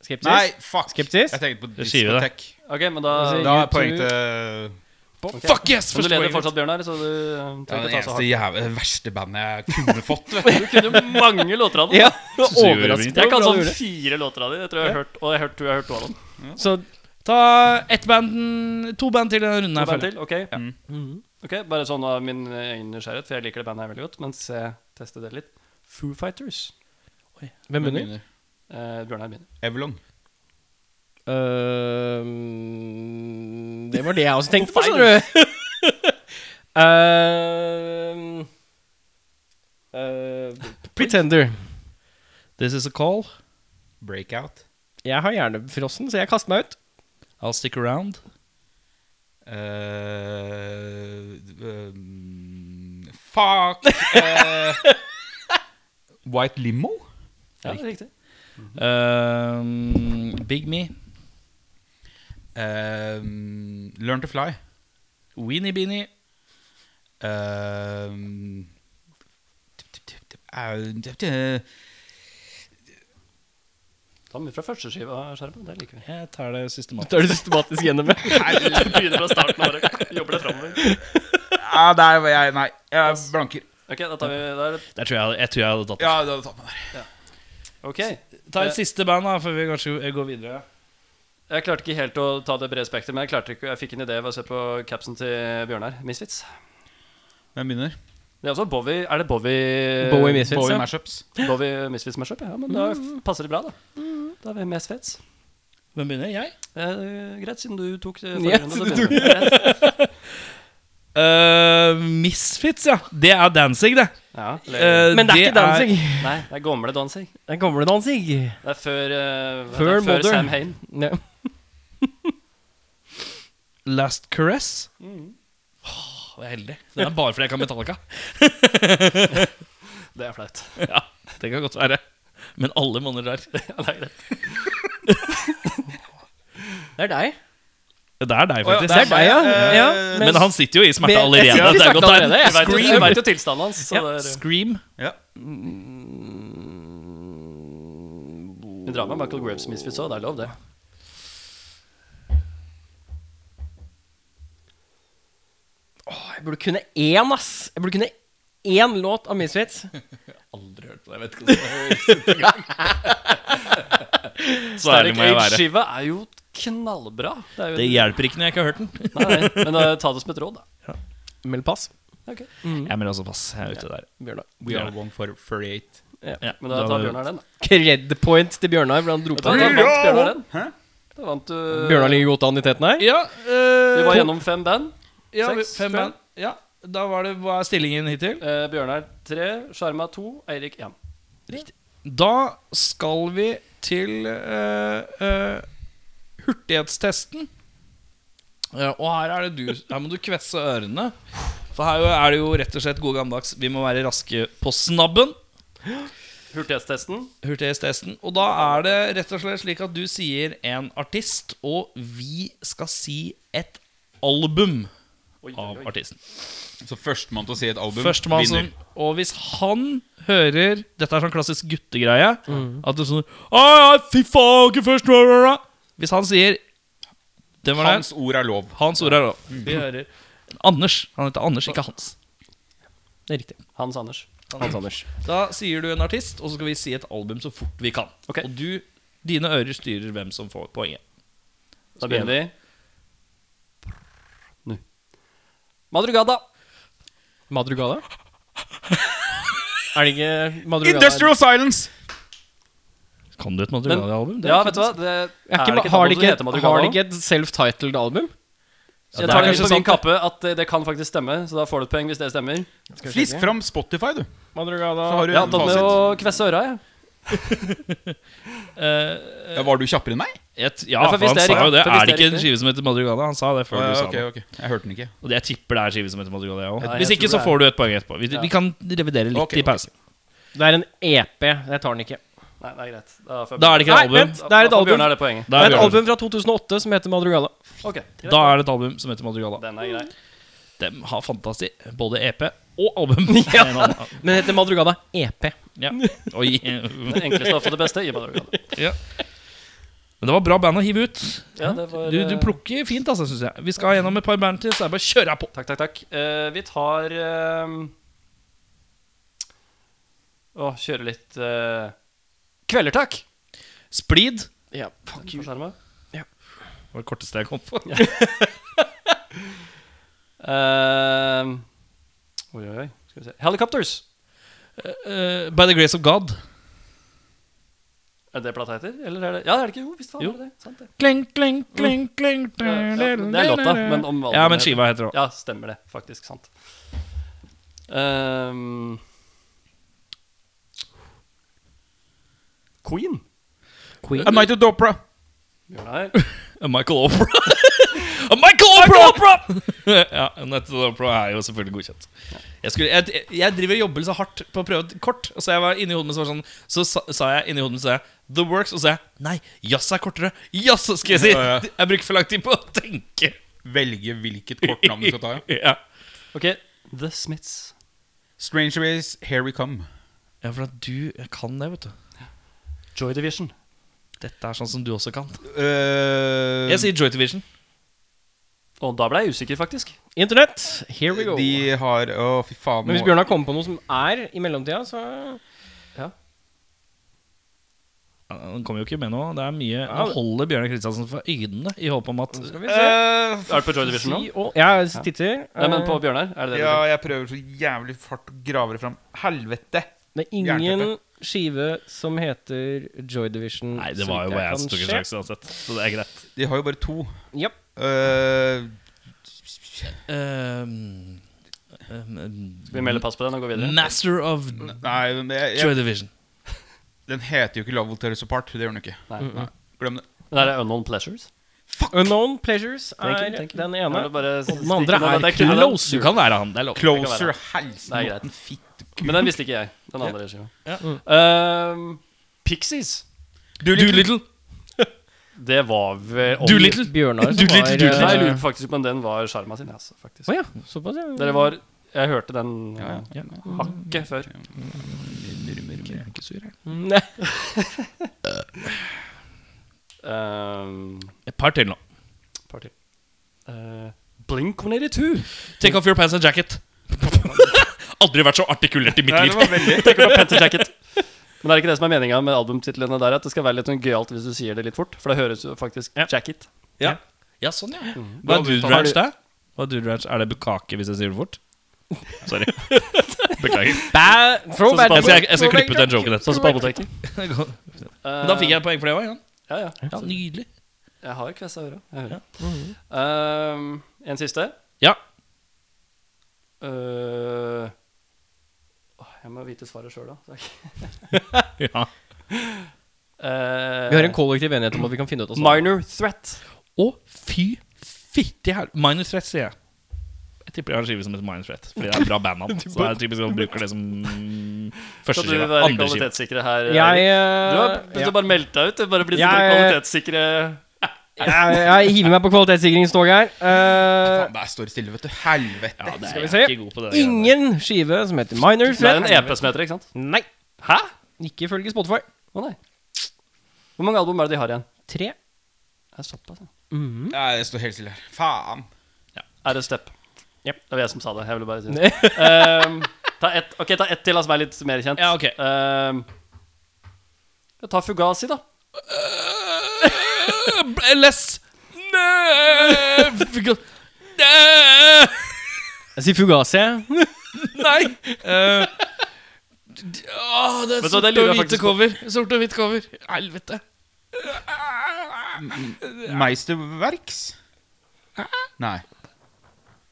A: Skeptisk?
D: Nei, fuck.
A: Skeptisk?
D: Jeg tenkte på
B: Det sier vi det.
D: diskotek.
C: Ok, men da
A: Altså,
D: Da er
A: YouTube.
D: poeng til
B: Fuck yes!
C: Men du
B: Første
C: leder
B: poeng.
C: fortsatt, Bjørnar, så du eh,
D: Ja,
C: trenger
D: det
C: ikke ta så
D: eneste
C: hardt.
D: jævla, verste bandet jeg kunne fått. Vet du.
C: Du kunne jo mange låter av den.
A: Ja, det var
B: Synes du
A: overraskende.
C: Jeg kan
A: Bra du
C: sånn
A: gjorde det.
C: fire låter av dem. Jeg tror jeg har hørt, og jeg har hørt, tror jeg har hørt to av dem.
A: Så
B: Ta ett band To band til denne runden.
C: To
B: her
C: band
B: føler jeg.
C: til, ok
A: Mhm.
C: Ok, Bare sånn av min egen nysgjerrighet, for jeg liker det bandet her veldig godt. Mens jeg tester det litt. Foo Fighters.
A: Hvem
D: Hvem
A: begynner?
D: begynner?
C: Eh, Bjørnar begynner.
D: Evelong.
A: Øhm, det var det jeg også tenkte på,
C: Feil.
A: skjønner du. Øhm, øh, pretender.
B: This is a call.
D: Breakout.
A: Jeg har hjernefrossen, så jeg kaster meg ut.
B: I'll stick around.
D: Eh, um, Eh, fuck. Eh, White Limo?
C: Ja, det er riktig.
B: Um, Big Me.
D: Um, learn to fly.
B: Weenie Beanie.
D: Um, tip, tip, tip, tip, au, tip, tip.
C: Ta med fra første skiva, Skjermen. Det liker vi.
B: Jeg tar det systematisk.
A: Da er det systematisk gjennom.
C: Du begynner fra starten av året. Jobber deg framover.
D: Ah, der var jeg. Nei, jeg blanker.
C: Ok, da tar vi da er det.
B: Der tror jeg, jeg tror jeg hadde tatt det.
D: Ja, du hadde tatt meg der.
C: Ok.
B: Ta et siste band, da, før vi kanskje går videre.
C: Jeg klarte ikke helt å ta det brede spekteret, men jeg, klarte ikke, jeg fikk en idé ved å se på capsen til Bjørnar. Misfits.
D: Hvem begynner?
C: Det er også Bowie. Er det Bowie
A: Bowie Misfits, ja.
D: Bowie Mashups.
C: Bowie Misfits mashup? Ja, men da passer det bra, da. Da er vi Misfits.
B: Hvem begynner? Jeg?
C: Eh, greit, siden du tok det
A: Ja,
C: forrige runde, så
A: siden du
C: begynner jeg. Greit.
B: Eh, Misfits, ja. Det er dancing, det.
C: Ja, eller-
B: Eh,
A: Men det er ikke dancing.
C: Nei, det er gamle Danzig.
A: Det er gamle dansing.
C: Det er før, eh, det er
A: Før
C: før
A: Modern.
C: Sam Hain.
A: Ja.
B: Last Caress. Åh, jeg er heldig. Den er bare fordi jeg kan Metallica.
C: Det er flaut.
B: ja, det kan godt være. Men alle monner der.
A: Det er deg.
B: Det er deg,
D: Å, ja,
B: faktisk.
A: Det er deg, ja.
D: Eh,
A: ja.
B: Men han sitter jo i smerte
A: Jeg- jeg
B: allerede.
A: sitter i
B: Det er
A: smerte
B: godt tegn.
A: allerede, jeg.
B: Du vet jo-
C: Du veit jo tilstanden hans. Så
B: Ja,
C: det er,
B: Scream.
D: Ja.
C: vi drar med Michael Graves Misfits òg, det er lov, det.
A: Åh, jeg burde kunne én, ass. Jeg burde kunne én låt av Misfits.
B: Aldri hørt på det. Jeg vet ikke Så ærlig
C: Derek
B: må jeg være.
C: Age-skiva er jo knallbra. Det, er jo,
B: Det hjelper ikke når jeg ikke har hørt den.
C: Nei, nei, men eh, ta det som et råd, da.
A: Meld pass.
C: Ok.
B: Jeg mener også pass. Jeg er ute der.
A: Bjørnar.
D: We are one for 48.
B: Ja,
C: Men da
B: da-
C: tar Bjørnar den, da.
A: Cred point til Bjørnar, for han dro
C: Da,
A: på
C: da
A: den.
C: vant Bjørnar den.
D: Hæ?
C: Da vant du
A: Bjørnar ligger godt an i teten her.
B: Ja,
C: Vi
B: eh,
C: var gjennom fem band.
B: ja,
C: seks,
B: fem
C: tror jeg.
B: band. Ja. Da var det, hva er stillingen hittil?
C: Eh, Bjørnar 3, Skjerma 2, Eirik 1.
B: Da skal vi til eh, eh, hurtighetstesten. Ja, og her, er det du, her må du kvesse ørene. For her er det jo rett og slett god gammeldags. Vi må være raske på snabben.
C: Hurtighetstesten.
B: Hurtighetstesten. Og da er det rett og slett slik at du sier en artist, og vi skal si et album
C: Oi, oi,
B: av
C: oi.
B: artisten.
D: Så førstemann til å si et album
B: Førstemann som
D: vinner.
B: Og hvis han hører Dette er sånn klassisk guttegreie.
C: Mm.
B: At det er sånn «Ai, ai, fy faen, ikke først bla, bla, bla». Hvis han sier Den var
D: Hans
B: det.
D: ord er lov.
B: Hans ord er lov. Vi hører Anders. Han heter Anders, ikke Hans.
A: Det er riktig.
C: Hans Anders.
A: Hans Anders.
B: Da sier du en artist, og så skal vi si et album så fort vi kan.
C: Ok.
B: Og du, dine ører styrer hvem som får poenget.
C: Da begynner vi. Nå. Madrugada.
A: Madrugada? er det ikke Madrugada?
D: Industrial Silence!
B: Kan du et Madrigal-album?
C: Ja, vet du hva? Det
A: Er ikke,
C: det
A: ma- har, de
C: ikke et album som
A: ikke,
C: heter Madrugada
A: har de
C: også?
A: ikke et self-titled album?
C: Jeg
B: det
C: tar
B: er
C: det
B: kanskje
C: på min
B: sant, det.
C: kappe at det, det kan faktisk stemme, så da får du et poeng hvis det stemmer.
D: Fisk fram Spotify, du.
A: Madrugada
D: Så har du
C: Jeg har
D: en
C: tatt med å
D: fasit.
C: kvesse øra, jeg.
D: Ja, var du kjappere enn meg?
B: Et, ja,
C: Ja, for
B: for
C: hvis
B: han
C: det er
B: sa jo
C: riktig-
B: det.
C: for hvis
B: Er det
C: det er
B: ikke en
C: riktig.
B: skive som heter Madrugada? Han sa det før du
D: Ja,
B: sa
D: ok,
B: det.
D: ok. Jeg hørte den ikke.
B: Og det- jeg tipper det er en skive som heter Madrugada, jeg også.
C: Ja, jeg
B: Hvis
C: tror
B: ikke, så
C: det er-
B: får du et poeng etterpå. Vi, vi kan revidere litt
D: Ok,
B: i pausen.
A: Det er en EP. Jeg tar den ikke.
C: Nei, det er greit. Da, får jeg-
B: Da er det ikke et
A: Nei,
B: album.
A: vent. Det er et
C: Da får
A: album.
C: Bjørnar det poenget.
B: Da
A: Det
B: er,
A: er
B: vi
A: et
B: over.
A: album fra 2008 som heter Madrugada.
C: Ok, greit.
B: da er det et album som heter Madrugada.
C: Den er grei.
B: De har fantasi. Både EP og album. En annen-
A: Men det heter Madrugada E EP.
B: ja. Oi.
C: Det enkleste ofte det beste i Madrugada.
B: Men det var bra band å hive ut.
C: Ja, det var,
B: Du, du
C: eh,
B: plukker fint, altså, syns jeg. Vi skal gjennom et par band til, så er det bare å kjøre på.
C: Takk, takk, takk. Eh, vi tar eh, Å, kjøre litt eh, Kvelder, takk!
B: Splid.
A: Ja, fuck
C: På skjermen.
B: Det var det korteste jeg kom på.
C: Eh, oi, oi, oi. Skal vi se. Helicopters.
B: Eh, by the grace of God.
C: Er det plata heter? Eller er det Ja, er det ikke jo, visst faen
B: Jo.
C: er det det. Sant, det.
B: Kling, kling, kling, kling
C: Ja, ja, men det er låta, men om
B: Ja, men
C: albumet-
B: skiva heter det òg.
C: Ja, stemmer det. Faktisk sant. Ehm, Queen.
A: Queen.
D: A Night at the Opera.
C: Bjørnar.
B: Eh, Michael Opera. Eh, Michael Opera! ja, Nettopp Opera er jo selvfølgelig godkjent. Jeg, skulle, jeg, jeg driver og jobber så hardt på å prøve et kort. Og så jeg var inni hodet mitt så var det sånn Så sa, sa jeg inni hodet mitt så sa jeg, The Works, og så sa jeg nei, jazz er kortere. Jazz, skal jeg si!
D: Ja, ja.
B: Jeg bruker for lang tid på å tenke.
D: Velge hvilket kortnavn du skal ta. ja.
B: Ja,
C: Ok, The Smiths.
D: Stranger Ways, Here We Come.
B: ja for at du kan det, vet du.
C: Joy Division.
B: Dette er sånn som du også kan.
D: Eh,
B: Jeg sier Joy Division.
C: Og da ble jeg usikker, faktisk.
A: Internett, here we go.
D: de har Å, fy faen.
A: Men hvis
D: nå-
A: Bjørnar kommer på noe som er i mellomtida, så
B: Ja, Han kommer jo ikke med nå. Det er mye Nå holder Bjørnar Kristiansen for øynene i håp om at
A: skal vi se.
D: Øh,
C: Er det på Joy Division nå?
A: Og, jeg titter.
C: Eh. Nei, men
A: Eh,
C: på Bjørnar? Er det det du
D: Ja,
C: tenker?
D: jeg prøver så jævlig fart å grave det fram. Helvete!
A: det er ingen skive som heter Joy Division.
B: Nei, det var jo bare jeg som tok en sjanse uansett. Så det er greit.
D: De har jo bare to.
A: Yep.
D: Eh,
B: Ehm, ehm,
C: Vi melder pass på den og går videre.
B: Master of
D: nei, men jeg,
B: Joy
D: jeg,
B: Division.
D: den heter jo ikke Love Will Tear Us Apart. Det gjør den jo ikke.
C: Nei.
A: Mm.
D: Nei, glem det.
C: Men er det Unknown Pleasures?
A: Unknown Pleasures er
C: Thank you, thank you.
A: den
C: Ja,
A: ene.
C: det bare
A: Og den
C: stikker
A: andre
C: noe,
A: er
C: men det kun den.
B: Close. Du kan være han. Det er lov.
D: Closer,
C: Nei,
D: helsike
C: greit.
D: en fittekuk.
C: Men den visste ikke jeg. Den andre skiva.
B: Ja.
C: Ehm, Pixies.
B: Doolittle.
C: Det var vel om-
B: Doolittle.
A: Bjørnar som
B: Du litt- du litt-
C: Nei, jeg
A: var
C: lurer faktisk på om den var sjarma sin, altså, faktisk.
A: Å ja, såpass, ja.
C: Dere var Jeg hørte den ja,
D: Ja, ja.
C: hakket før.
A: Nei.
C: Um,
B: Et par til nå.
C: party. Uh, Blink 182.
B: Take off your pants and jacket. Aldri vært så artikulert i mitt
D: Nei,
B: liv.
D: det var veldig
C: Tenker på Panther Jacket. Men er det ikke det som er meninga med albumtitlene der? At det skal være litt sånn gøyalt hvis du sier det litt fort? For det høres jo faktisk jacket.
B: Ja. ja, sånn, ja. Hva
D: Bra
B: er dude
D: uttale.
B: ranch, da? Hva Er dude ranch? Er det bukake hvis jeg sier det fort? Sorry. Beklager.
A: Bæ- throwback.
B: Jeg skal, jeg skal klippe ut den joken
C: Sånn som
B: etterpå.
C: på apoteket.
B: Men Da fikk jeg poeng for det òg, ja.
C: Eh, Ja, ja.
B: ja. Nydelig.
C: Jeg Eh, har kvessa øra. Jeg hører. Um, en siste.
B: Ja.
C: Eh, åh, jeg må vite svaret sjøl, da. Takk.
B: Ja.
A: Vi har en kollektiv enighet om at vi kan finne ut av sånt.
C: Eh, Minor threat.
B: Å, fy fitte her Minor Threat, sier jeg. Jeg tipper jeg har en skive som heter Minor Threat. Fordi det er et bra bandnavn. Så det er typisk at man bruker det som første
C: Skal du
B: skive.
C: være
B: Andre skive.
C: kvalitetssikre her?
A: Jeg,
C: Eirik?
A: eh,
C: du har du har bare meldt deg ut. Du har bare blitt
A: Jeg-
C: sånn kvalitetssikre
A: jeg, jeg hiver meg på kvalitetssikringstoget her. Eh,
D: Faen, der står det stille, vet du. Helvete.
B: Ja, det er
A: Skal vi
B: jeg
A: se.
B: ikke god på det der.
A: ingen skive som heter Minor
C: Det er en
A: Threat.
C: EP som heter det, ikke sant?
A: Nei.
C: Hæ?
A: Ikke ifølge Spotify.
C: Å nei. Hvor mange album er det de har igjen?
A: Tre.
C: Det er såpass, ja.
D: Ja, det står helt stille her. Faen.
C: Er det Step?
A: Yep.
C: Det var jeg som sa det. Jeg ville bare si det. Ehm, ta ett ok, ta ett til, da, som er litt mer kjent.
B: Ja, ok.
C: Ehm, jeg tar Fugazi, da.
B: Eh, Less Nei Nei.
A: Jeg sier Fugazi. jeg.
B: Nei. Eh, d- åh, det er
C: Vet du hva,
B: sort
C: det
B: og
C: lurer jeg
B: hvite
C: faktisk på.
B: cover. Sort og hvitt cover. Helvete.
D: Meisterverks? Nei.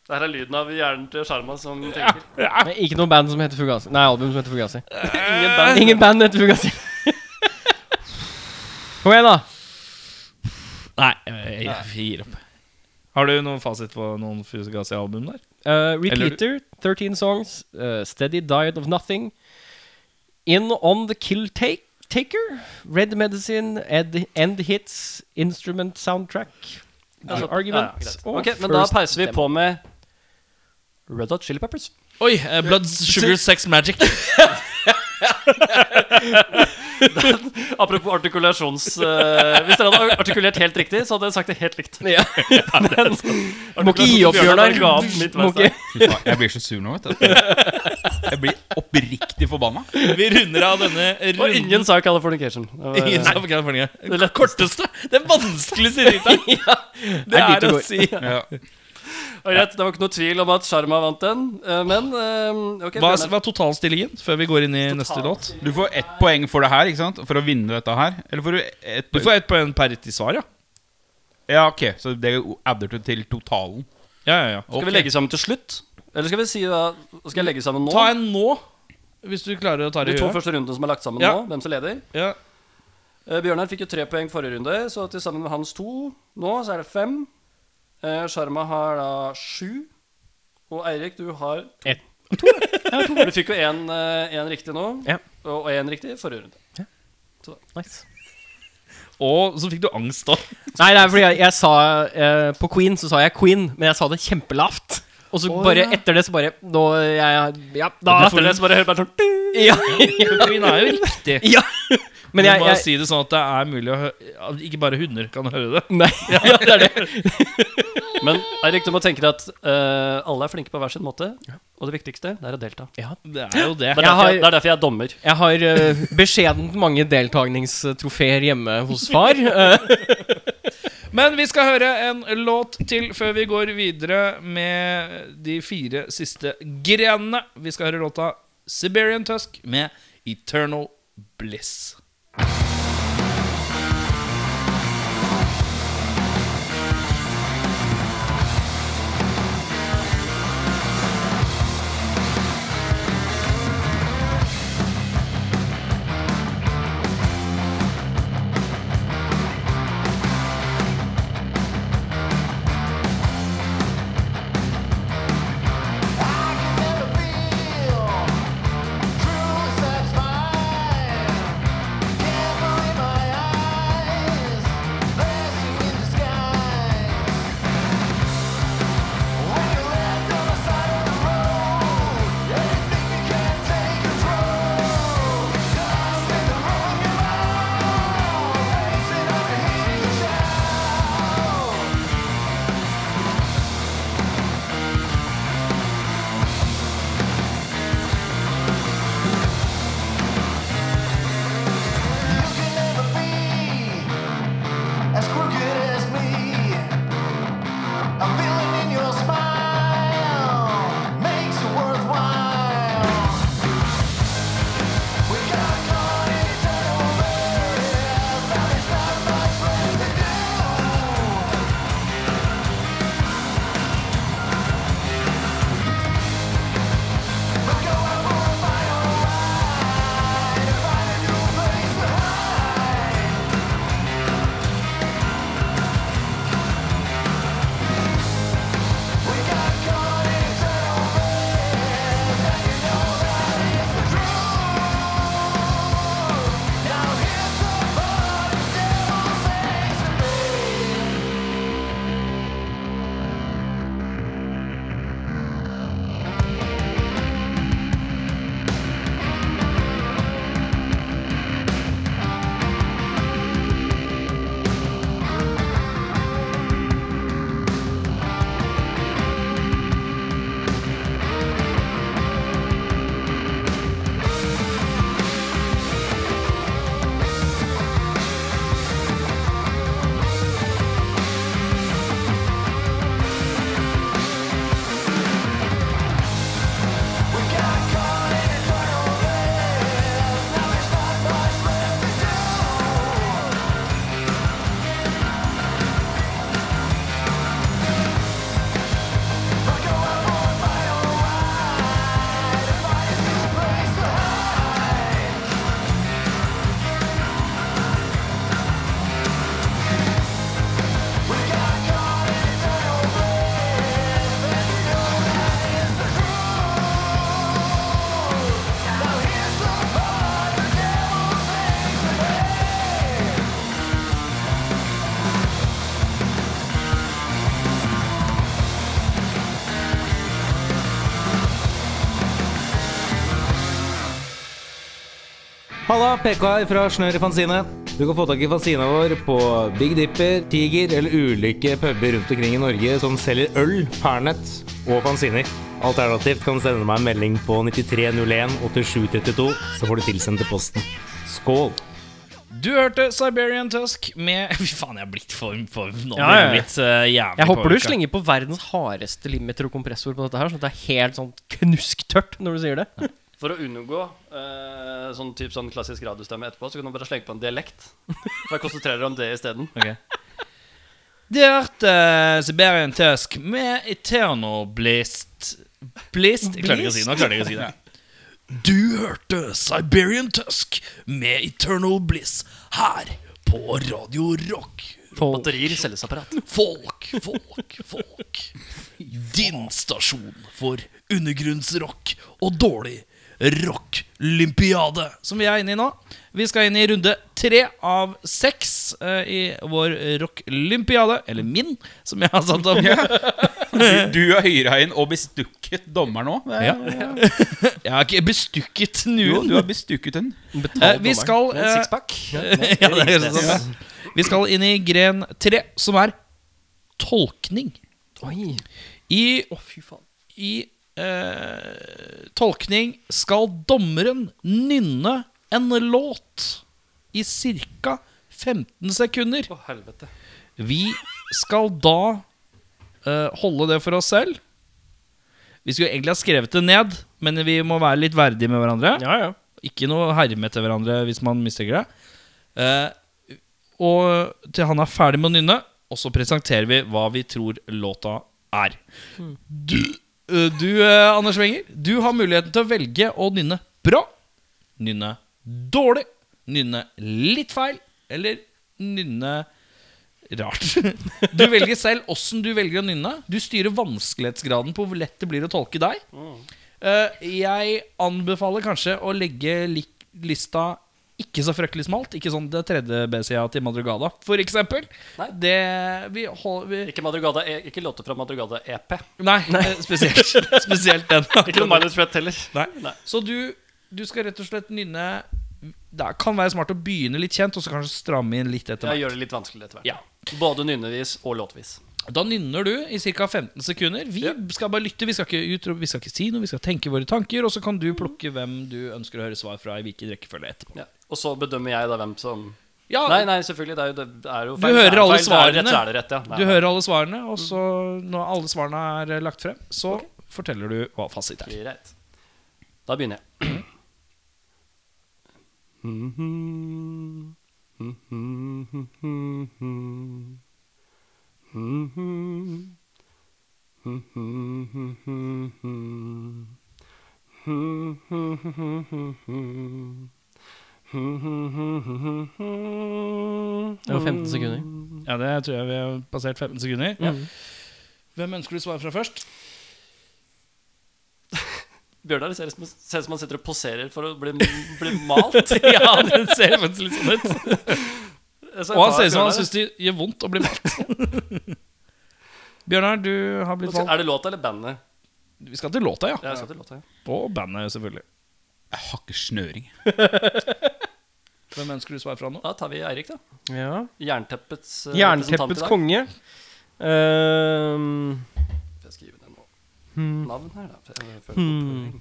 C: Dette er lyden av hjernen til Sharma som tenker.
A: Det er Ikke noe band som heter Fugazi. Nei, album som heter Fugazi.
C: Ingen band.
A: Ingen band heter Fugazi. Kom igjen, da.
B: Nei, jeg, jeg gir opp. Har du noen fasit på noen Fusegassi-album der?
A: Eh,
B: Eller-
A: repeater, 13 songs, eh, Steady Diet of Nothing, In On The Kill take, Taker, Red Medicine, Ed, End Hits, Instrument Soundtrack, The
C: Altså,
A: Argument
C: ja, greit.
A: og
C: ok, men da
A: First
C: peiser vi
A: Demo.
C: på med Red Hot Chili Peppers.
B: Oi! eh, Blood, Sugar, Sex, Magic.
C: Apropos artikulasjons... eh, hvis dere hadde artikulert helt riktig, så hadde jeg sagt det helt likt.
A: Ja.
C: Må
A: ikke gi opp, Bjørnar. Må ikke-
D: Fy faen, jeg blir så sur nå, vet du. Jeg blir oppriktig forbanna.
B: Vi runder av denne
C: Og
B: runden.
C: ingen sa Californication. Det var,
B: Ingen
C: eh,
B: sa på California.
C: det lette-
B: Korteste! Den vanskeligste rita. Det
A: er dit
B: er
A: det
B: å
A: går.
B: si
D: Ja.
C: Og greit, det var ikke noe tvil om at Sharma vant den, eh, men eh, ok,
B: Hva
C: Bjørnar.
B: var totalstillingen før vi går inn i neste låt?
D: Du får ett poeng for det her, ikke sant? For å vinne dette her. Eller får du ett
B: Du
D: poeng?
B: får ett poeng per riktig svar, ja.
D: Ja, ok. Så det adder du til totalen.
B: Ja, ja, ja.
C: Skal vi legge sammen til slutt? Eller skal vi si hva Skal jeg legge sammen nå?
B: Ta en nå, hvis du klarer å ta
C: De
B: det i
C: to
B: huet.
C: første rundene som er lagt sammen
B: Ja.
C: nå, hvem som leder?
B: Ja.
C: Eh, Bjørnar fikk jo tre poeng forrige runde, så til sammen med hans to nå, så er det fem. Eh, Sharma har da sju. Og Eirik, du har to.
A: Ett.
C: Du fikk jo én riktig nå,
A: Ja.
C: og én riktig forrige runde.
A: Nice.
B: Og så fikk du angst, da.
A: Nei, det er fordi jeg, jeg sa eh, På Queen så sa jeg Queen, men jeg sa det kjempelavt. Og så bare etter det så bare Nå jeg, Ja, da
C: Etter det så bare hører jeg bare sånn
A: ja,
B: Queen er jo riktig.
A: ja. Men
B: Men
A: jeg,
B: må
A: jeg
B: si det sånn at det er mulig å hø- at Ikke bare hunder kan høre det.
A: Nei, ja, det er det.
C: Men Eirik, du må tenke deg at eh, alle er flinke på hver sin måte. Og det viktigste, det er å delta. Det
B: Det er jo det.
C: er,
A: Jeg
C: derfor,
A: har-
C: jeg, det er derfor jeg er dommer.
A: Jeg har eh, beskjedent mange deltakningstrofeer hjemme hos far. eh,
B: Men vi skal høre en låt til før vi går videre med de fire siste grenene. Vi skal høre låta Siberian Tusk med Eternal Bliss.
G: I can never feel true satisfaction.
H: Halla, PK her fra Snør i Fanzine. Du kan få tak i fanzina vår på Big Dipper, Tiger eller ulike puber rundt omkring i Norge som selger øl, pernett og fanziner. Alternativt kan du sende meg en melding på 9301 8732, så får du tilsendt til posten. Skål!
B: Du hørte Siberian Tusk med Fy faen, jeg er blitt for, for Nå
A: Ja, ja,
B: blir jeg
A: ja.
B: blitt eh, jævlig
A: Jeg håper du
B: påvirket.
A: slenger på verdens hardeste limiter og kompressor på dette her, sånn at det er helt sånn knusktørt når du sier det.
C: For å unngå eh, sånn, typ, sånn klassisk radiostemme etterpå, så kan du bare slenge på en dialekt. For jeg konsentrerer deg om det isteden.
B: Du hørte eh, Siberian Tusk med Eternal Blist Blist? Jeg klarte ikke å si det. nå klarte jeg ikke å si det Du hørte Siberian Tusk med Eternal Bliss her på Radio Rock.
C: Batterier, selvsapparat.
B: Folk, folk, folk. Din stasjon for undergrunnsrock og dårlig rock-lympiade. Som vi er inne i nå. Vi skal inn i runde tre av seks eh, i vår rock-lympiade. Eller min, som jeg har satt opp.
D: Du har hyra inn og bestukket dommeren òg. Det er-
B: Ja. Jeg har ikke bestukket
D: Jo,
B: noen.
D: du har bestukket den.
B: Eh, vi skal
C: Med
B: eh,
C: en sixpack.
B: ja, det er sånn, det. Vi skal inn i gren tre, som er tolkning. I, i eh, tolkning skal dommeren nynne en låt i ca. 15 sekunder.
C: Å, helvete.
B: Vi skal da eh, holde det for oss selv. Vi skulle egentlig ha skrevet det ned, men vi må være litt verdige med hverandre.
A: Ja, ja.
B: Ikke noe herme til hverandre hvis man mistenker det. Eh, og til han er ferdig med å nynne, og så presenterer vi hva vi tror låta er. Du, eh, du eh, Anders Wenger, du har muligheten til å velge å nynne bra, nynne dårlig, nynne litt feil, eller nynne rart. Du velger selv åssen du velger å nynne. Du styrer vanskelighetsgraden på hvor lett det blir å tolke deg. Eh, jeg anbefaler kanskje å legge lik lista ikke så fryktelig smalt. Ikke sånn det tredje B-sida til Madrugada, for eksempel.
C: Nei.
B: Det vi hold, vi,
C: Ikke, Madrugada, E- ikke låter fra Madrugada E EP.
B: Nei, eh, spesielt, spesielt den.
C: Ikke noe Minus Fred heller. Nei.
B: Så du, du skal rett og slett nynne Det kan være smart å begynne litt kjent, og så kanskje stramme inn litt etter
C: Jeg
B: hvert.
C: gjør det litt vanskeligere etter hvert.
B: Ja.
C: Både nynnevis og låtvis.
B: Da nynner du i ca. 15 sekunder. Vi
C: Ja.
B: skal bare lytte, vi skal ikke ut, vi skal ikke si noe, vi skal tenke våre tanker, og så kan du plukke hvem du ønsker å høre svar fra i hvilken rekkefølge etterpå.
C: Ja. Og så bedømmer jeg da hvem som
B: Ja,
C: Nei, nei, selvfølgelig. Det er jo, det er jo
B: Du hører
C: Det er jo
B: alle
C: feil, det er
B: svarene.
C: rett, så er det rett, ja. Nei, Mm.
B: Du
C: nei.
B: hører alle svarene, og så når alle svarene er eh, lagt frem, så forteller du hva fasit er.
C: Greit. Da begynner jeg.
A: Det var 15 sekunder.
B: Ja, det tror jeg vi har passert 15 sekunder. Hvem ønsker du svar fra først?
C: Bjørnar ser ut som- ser ut som han sitter og poserer for å bli, bli malt.
B: ja, det ser faktisk litt sånn ut. Og han ser ut som han syns det gjør vondt å bli malt. Bjørnar, du har blitt valgt.
C: Er det låta eller bandet?
B: Vi skal til låta, ja.
C: Jeg skal til låta, ja.
B: Og bandet, selvfølgelig.
D: Jeg har ikke snøring.
B: Hvem ønsker du svar fra nå?
C: Da tar vi Eirik, da.
A: Ja.
C: Jernteppets eh, representant i
A: Jernteppets
C: dag.
A: konge. Ehm,
C: Skal jeg skrive ned noe
B: Hmm.
C: navn her, da? for jeg føler på-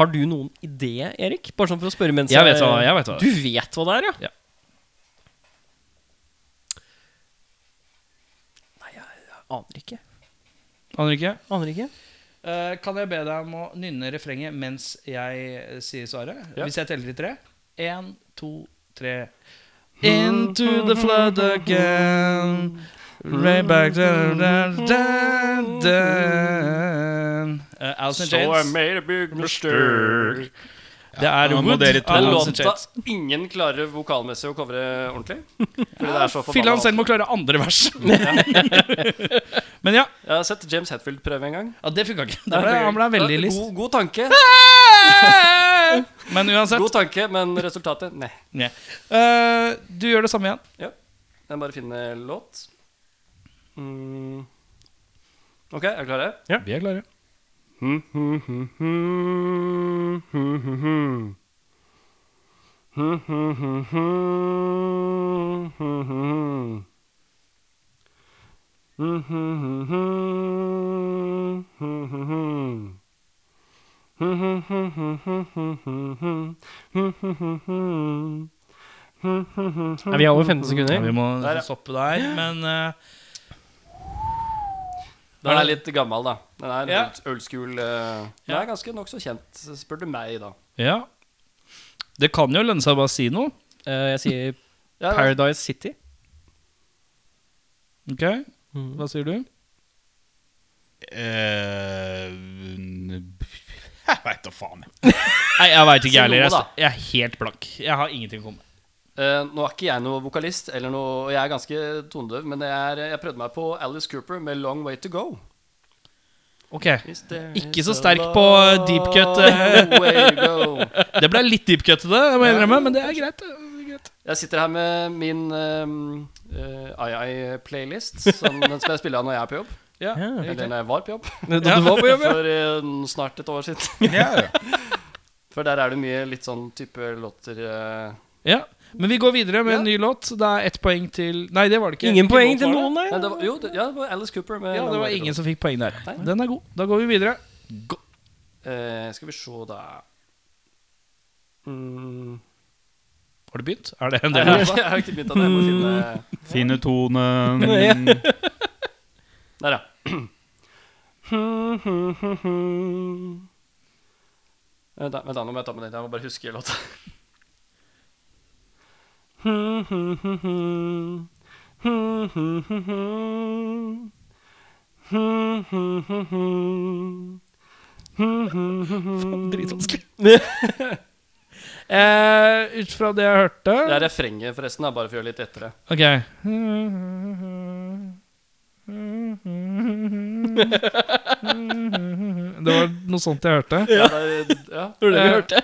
A: har du noen idé, Erik? Bare sånn for å spørre mens
B: Jeg vet hva- jeg vet hva det
A: Du vet hva det er, ja? Nei, jeg, jeg aner ikke.
B: Aner ikke.
A: Aner ikke.
B: Eh, kan jeg be deg om å nynne refrenget mens jeg eh, sier svaret? Hvis jeg teller til tre? Én, to, tre. Into the flood again. Right back down, down, down, down. Eh, Alice in
C: So I
B: Chains.
C: made a big mistake.
B: Det er
D: nå må
B: Wood
D: dere to-
B: av
C: Den
B: Alice in
C: låta
B: Chains.
C: ingen klarer vokalmessig å covre ordentlig. Fordi det er så
B: Fillan
C: forbanna
B: selv må klare andre vers. Men ja,
C: Jeg har sett James Hetfield prøve en gang.
B: ja det funka ikke. Det ble, han ble veldig list.
C: God, god tanke,
B: Men uansett.
C: god tanke, men resultatet Nei.
B: Ja. Eh, du gjør det samme igjen.
C: Ja. Jeg må bare finne låt. Mm. OK, er dere klare?
B: Vi er klare.
C: Hmm, hmm, hmm, hmm, hmm, hmm, hmm.
A: Er vi over 15 sekunder?
B: Vi må
C: Der, ja.
B: stoppe der, men eh,
C: Den er litt gammel, da. Den er
B: Ja.
C: ja. old school. eh, Den er ganske nokså kjent, spør du meg, da.
B: Ja. Det kan jo lønne seg å bare si noe.
A: Eh, jeg sier
C: Ja,
A: Paradise City.
B: Ok? Hva sier du?
D: Eh, jeg veit da faen. jeg.
B: Nei, jeg veit ikke, jeg
C: Si noe,
B: heller. Jeg
C: da.
B: st- Jeg er helt blank. Jeg har ingenting å komme med.
C: Eh, nå er ikke jeg noe vokalist, eller noe, og jeg er ganske tonedøv, men jeg, er, jeg prøvde meg på Alice Cooper med 'Long Way To Go'.
B: Ok,
C: Is there
B: Ikke
C: is
B: så
C: a
B: sterk
C: long
B: på deep cut. eh.
C: way to go.
B: Det ble litt deep cut til det, jeg må innrømme, men det er greit. det er greit.
C: Jeg sitter her med min ehm, II-playlist, som den skal jeg spille av når jeg er på jobb.
B: Ja.
C: Eller når jeg var på jobb,
A: Da du var på jobb, ja.
C: for eh, snart et år siden. For der er det mye litt sånn type låter eh.
B: Ja. Men vi går videre med en ny låt. Det er ett poeng til Nei, det var det ikke.
A: Ingen poeng
B: Hvilken låt
A: til
B: var det?
A: noen,
C: Nei,
A: nei.
C: det var, jo, det, ja, det var Alice Cooper med
B: Ja, det var
C: 'Long Way To
B: ingen
C: Go'.
B: som fikk poeng der.
C: Nei.
B: Den er god. Da går vi videre.
C: Eh, skal vi se, da mm.
B: Har du begynt? Er det Mm. en
C: Nei,
B: del?
C: jeg, jeg har ikke begynt av det. Jeg må finne
D: Finne tonen Jeg
C: Der, ja. Vent, da, vent da, nå må jeg ta med den. Jeg må bare huske låta.
B: Dritvanskelig. eh, ut fra det jeg hørte
C: Det er refrenget, forresten, da, bare for å gjøre litt lettere.
B: Ok. Det var noe sånt jeg hørte.
C: Ja, det er, ja.
A: Det var det vi
B: Eh,
A: hørte.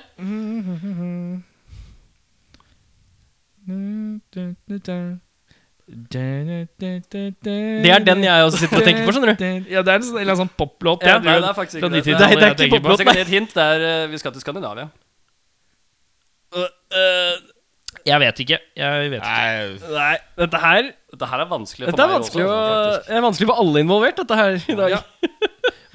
A: Det er den jeg også sitter og tenker på, skjønner du.
B: Ja, det er en sånn, eller en sånn poplåt.
A: Ja,
B: jeg
C: Nei,
B: tror-
C: det er faktisk
B: fra
C: ikke det. Det
A: Nei,
B: 90-tallet
C: er,
A: det er
B: jeg
A: ikke
B: tenker på.
A: poplåt,
C: det er et hint. Det er, eh, vi skal til Skandinavia.
B: Jeg vet ikke. Jeg vet ikke.
A: Nei, dette her
C: Dette her er vanskelig for
A: Dette er
C: meg
A: vanskelig, å,
C: også. faktisk.
A: det er vanskelig for alle involvert, dette her i dag.
B: Ja.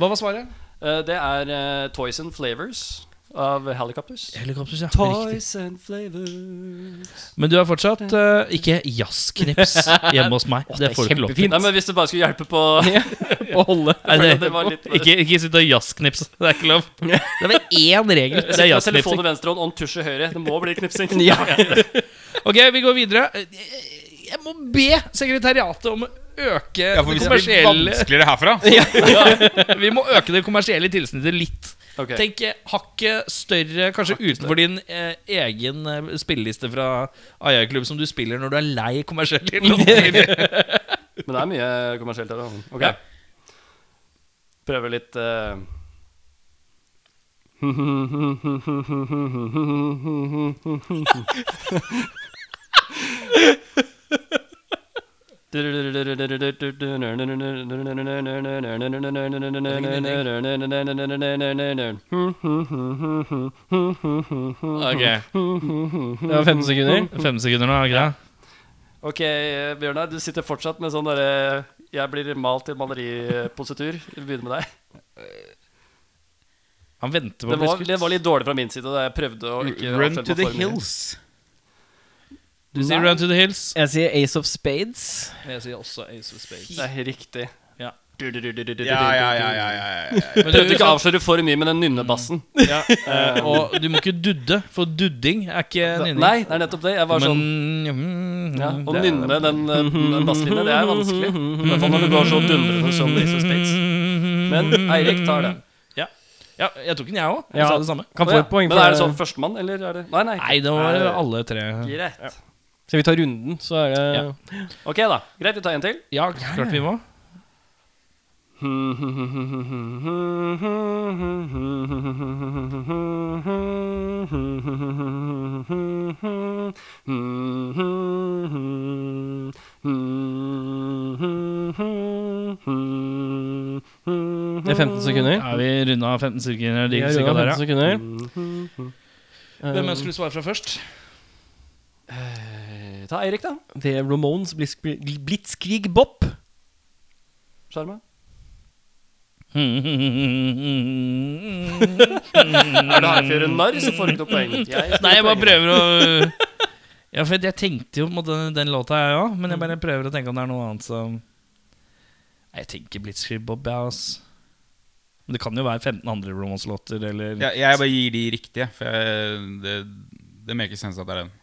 B: Hva var svaret?
C: Eh, Det er eh, Toys and Flavors av Helicopters.
B: Helikopter, ja. Riktig.
C: Toys and Flavors
B: Men du har fortsatt eh, ikke jazzknips hjemme hos meg. Det
A: er
B: får du ikke lov til.
A: Fint.
C: Nei, men Hvis det bare skulle hjelpe på
A: Å holde.
B: Nei,
C: føler
B: det,
C: at det var litt-
B: ikke ikke sitt og jazzknips. Det er ikke lov. Det er vel én regel. Det
C: Sitt
B: er
C: med
B: jazzknipsing.
C: telefonen i venstre hånd og en tusj i høyre. Det må bli knipsing.
B: Ok, vi går videre. Jeg må be sekretariatet om å øke
D: Ja, for
B: det
D: hvis det blir
B: kommersielle
D: vanskeligere herfra
B: Vi må øke det kommersielle tilsnittet litt.
C: Ok.
B: Tenk eh, hakket større, kanskje utenfor din eh, egen eh, spilleliste fra AI-klubb som du spiller når du er lei kommersielle låter.
C: Men det er mye kommersielt her. da. Ok.
B: Ja.
C: Prøve litt eh.
B: Ok,
A: Det var 15 sekunder.
B: Fem sekunder nå, er det ikke det?
C: Ok, Bjørnar, du sitter fortsatt med sånn derre Jeg blir malt i maleripositur. Vi begynner med deg.
B: Han venter på
C: Det
B: å
C: var,
B: bli
C: det
B: skutt.
C: var litt dårlig fra min side da jeg prøvde å ikke
D: Run
C: avsløre
D: to the
C: for mye.
D: hills.
B: Du sier Run to the Hills.
A: Jeg sier Ace of Spades.
B: Jeg sier også Ace of Spades.
C: Det er riktig.
B: Ja.
C: Du, du, du, du, du, du,
D: Ja, ja, ja, ja,
C: du, du.
D: ja, ja, ja.
B: Men
C: Prøvde
B: du,
C: ikke å avsløre for mye med den nynnebassen.
B: eh, og du må ikke dudde, for dudding er ikke nynning. Mm,
C: Nei, det er nettopp det. Jeg var sånn
B: Men-
C: ja, Å nynne den, eh, den basslinja, det er vanskelig. I hvert fall når du går så dundrende som Ace of
B: mm,
C: Spades. Men Eirik tar den.
B: Ja, jeg tok den, jeg òg. Jeg
A: Ja.
B: sa det samme.
A: Kan
C: Å,
A: få
C: ja.
A: et poeng
C: Men er det
A: for
C: sånn førstemann, eller er det Nei, nei.
B: Nei, det var alle tre.
C: Greit.
A: Så vi tar runden, så er det
B: Ja.
C: Ok, da. Greit, vi tar en til.
B: Ja, klart vi må.
A: Det er 15 sekunder.
B: Ja, vi runda 15 sekunder.
A: Vi Mm.
B: De
A: er
B: cirka
A: unna
B: der,
A: 15
B: ja.
A: sekunder.
B: Hvem ønsker du svare fra først?
C: Eh, Ta Eirik, da.
A: Det er Ramones Blitzkrieg, Blitzkrieg Bop.
C: Skjermen. Er du her for å gjøre narr, så får du ikke noe poeng. Jeg
B: Nei, jeg bare prøver å Ja, for jeg tenkte jo på en måte den låta, jeg òg. Men jeg bare prøver å tenke om det er noe annet som Nei, jeg tenker Blitzkrieg Bob, ja, ass. Men det kan jo være 15 andre romanslåter, eller
D: Jeg, jeg bare gir de riktige, for jeg, det, det maker sens at det er den.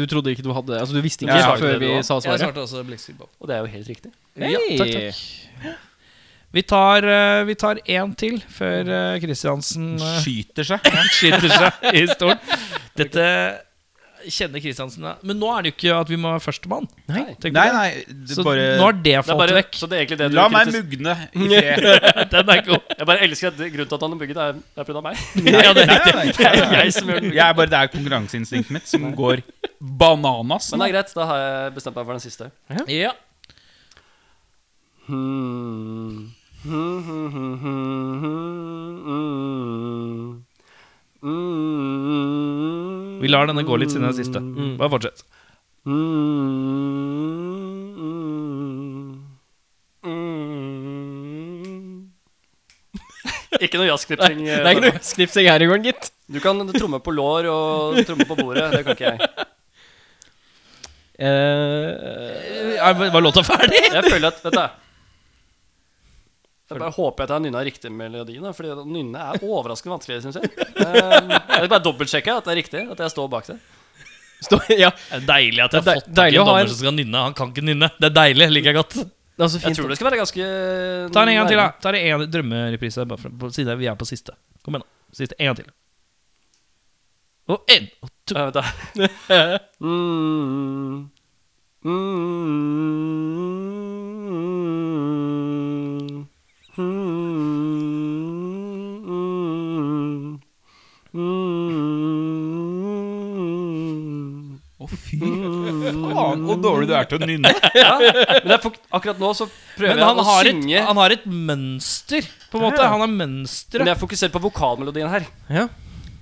A: Du trodde ikke du hadde det? Altså, du visste ikke
D: Jeg svarte
A: før
C: det
A: vi
C: da.
A: sa
B: Jeg
A: svaret?
B: svarte også Blitzkrieg Bob.
C: Og det er jo helt riktig.
A: Hei!
B: Ja, takk, takk. Vi tar, eh, vi tar én til før eh, Kristiansen eh,
D: Skyter seg.
B: skyter seg i stolen. Dette kjenner Kristiansen. da. Men nå er det jo ikke at vi må være førstemann.
C: Nei.
B: Tenk på
D: Nei,
B: det.
D: nei,
B: Så
D: det bare,
B: nå har det
C: Det er
B: falt
C: bare,
B: vekk.
C: så det er egentlig det du
D: La meg
C: kritis-
D: mugne i fred.
B: Den er god.
C: Jeg bare elsker at det- grunnen til at han har bygget, det er, det er pga. meg.
D: Ja, det, nei, nei, nei,
C: Det
D: nei.
C: er jeg som gjør den.
D: Jeg er bare, det er konkurranseinstinktet mitt som går bananas.
C: Men det er greit, da har jeg bestemt meg for den siste.
B: Ja.
C: Hmm. Hmm, hmm, hmm, hmm, hmm, hmm. Hmm.
B: Vi lar denne gå litt siden den siste. Bare fortsett.
C: Mm. Mm. Ikke noe jazzknipsing. eh,
A: Det er ikke noe knipsing her i gården, gitt.
C: Du kan tromme på lår og tromme på bordet. Det kan ikke jeg.
B: Er- Var låta ferdig?
C: Jeg føler at Vet du jeg bare håper jeg at jeg har nynna riktig melodi, da, Fordi å nynne er overraskende vanskelig, syns jeg. Um, Jeg vil bare dobbeltsjekke at det er riktig, at jeg står bak det.
A: Stå, ja,
B: Det er Deilig at
A: Det
B: jeg har
A: er
B: fått tak i
A: deilig å ha
B: en dommer
A: en-
B: som skal nynne. Han kan ikke nynne. Det er deilig. Liker jeg godt.
A: det er så fint.
C: Jeg tror det skal være ganske
B: Ta den en gang til, da. Ta det en drømmereprise, bare for, på, siden vi er på siste. Kom igjen, da. Siste. En gang til. Og en, og to.
C: Ja, vent, da. Mm. Mm. Mm. Mm.
D: Å, fy faen, hvor dårlig du er til å nynne.
C: Men jeg får, akkurat nå så prøver
B: Men
C: jeg
B: han
C: å
B: har, et,
C: synge.
B: han har et mønster, på en måte. Han har mønstre.
C: men jeg fokuserer på vokalmelodien her.
A: Ja.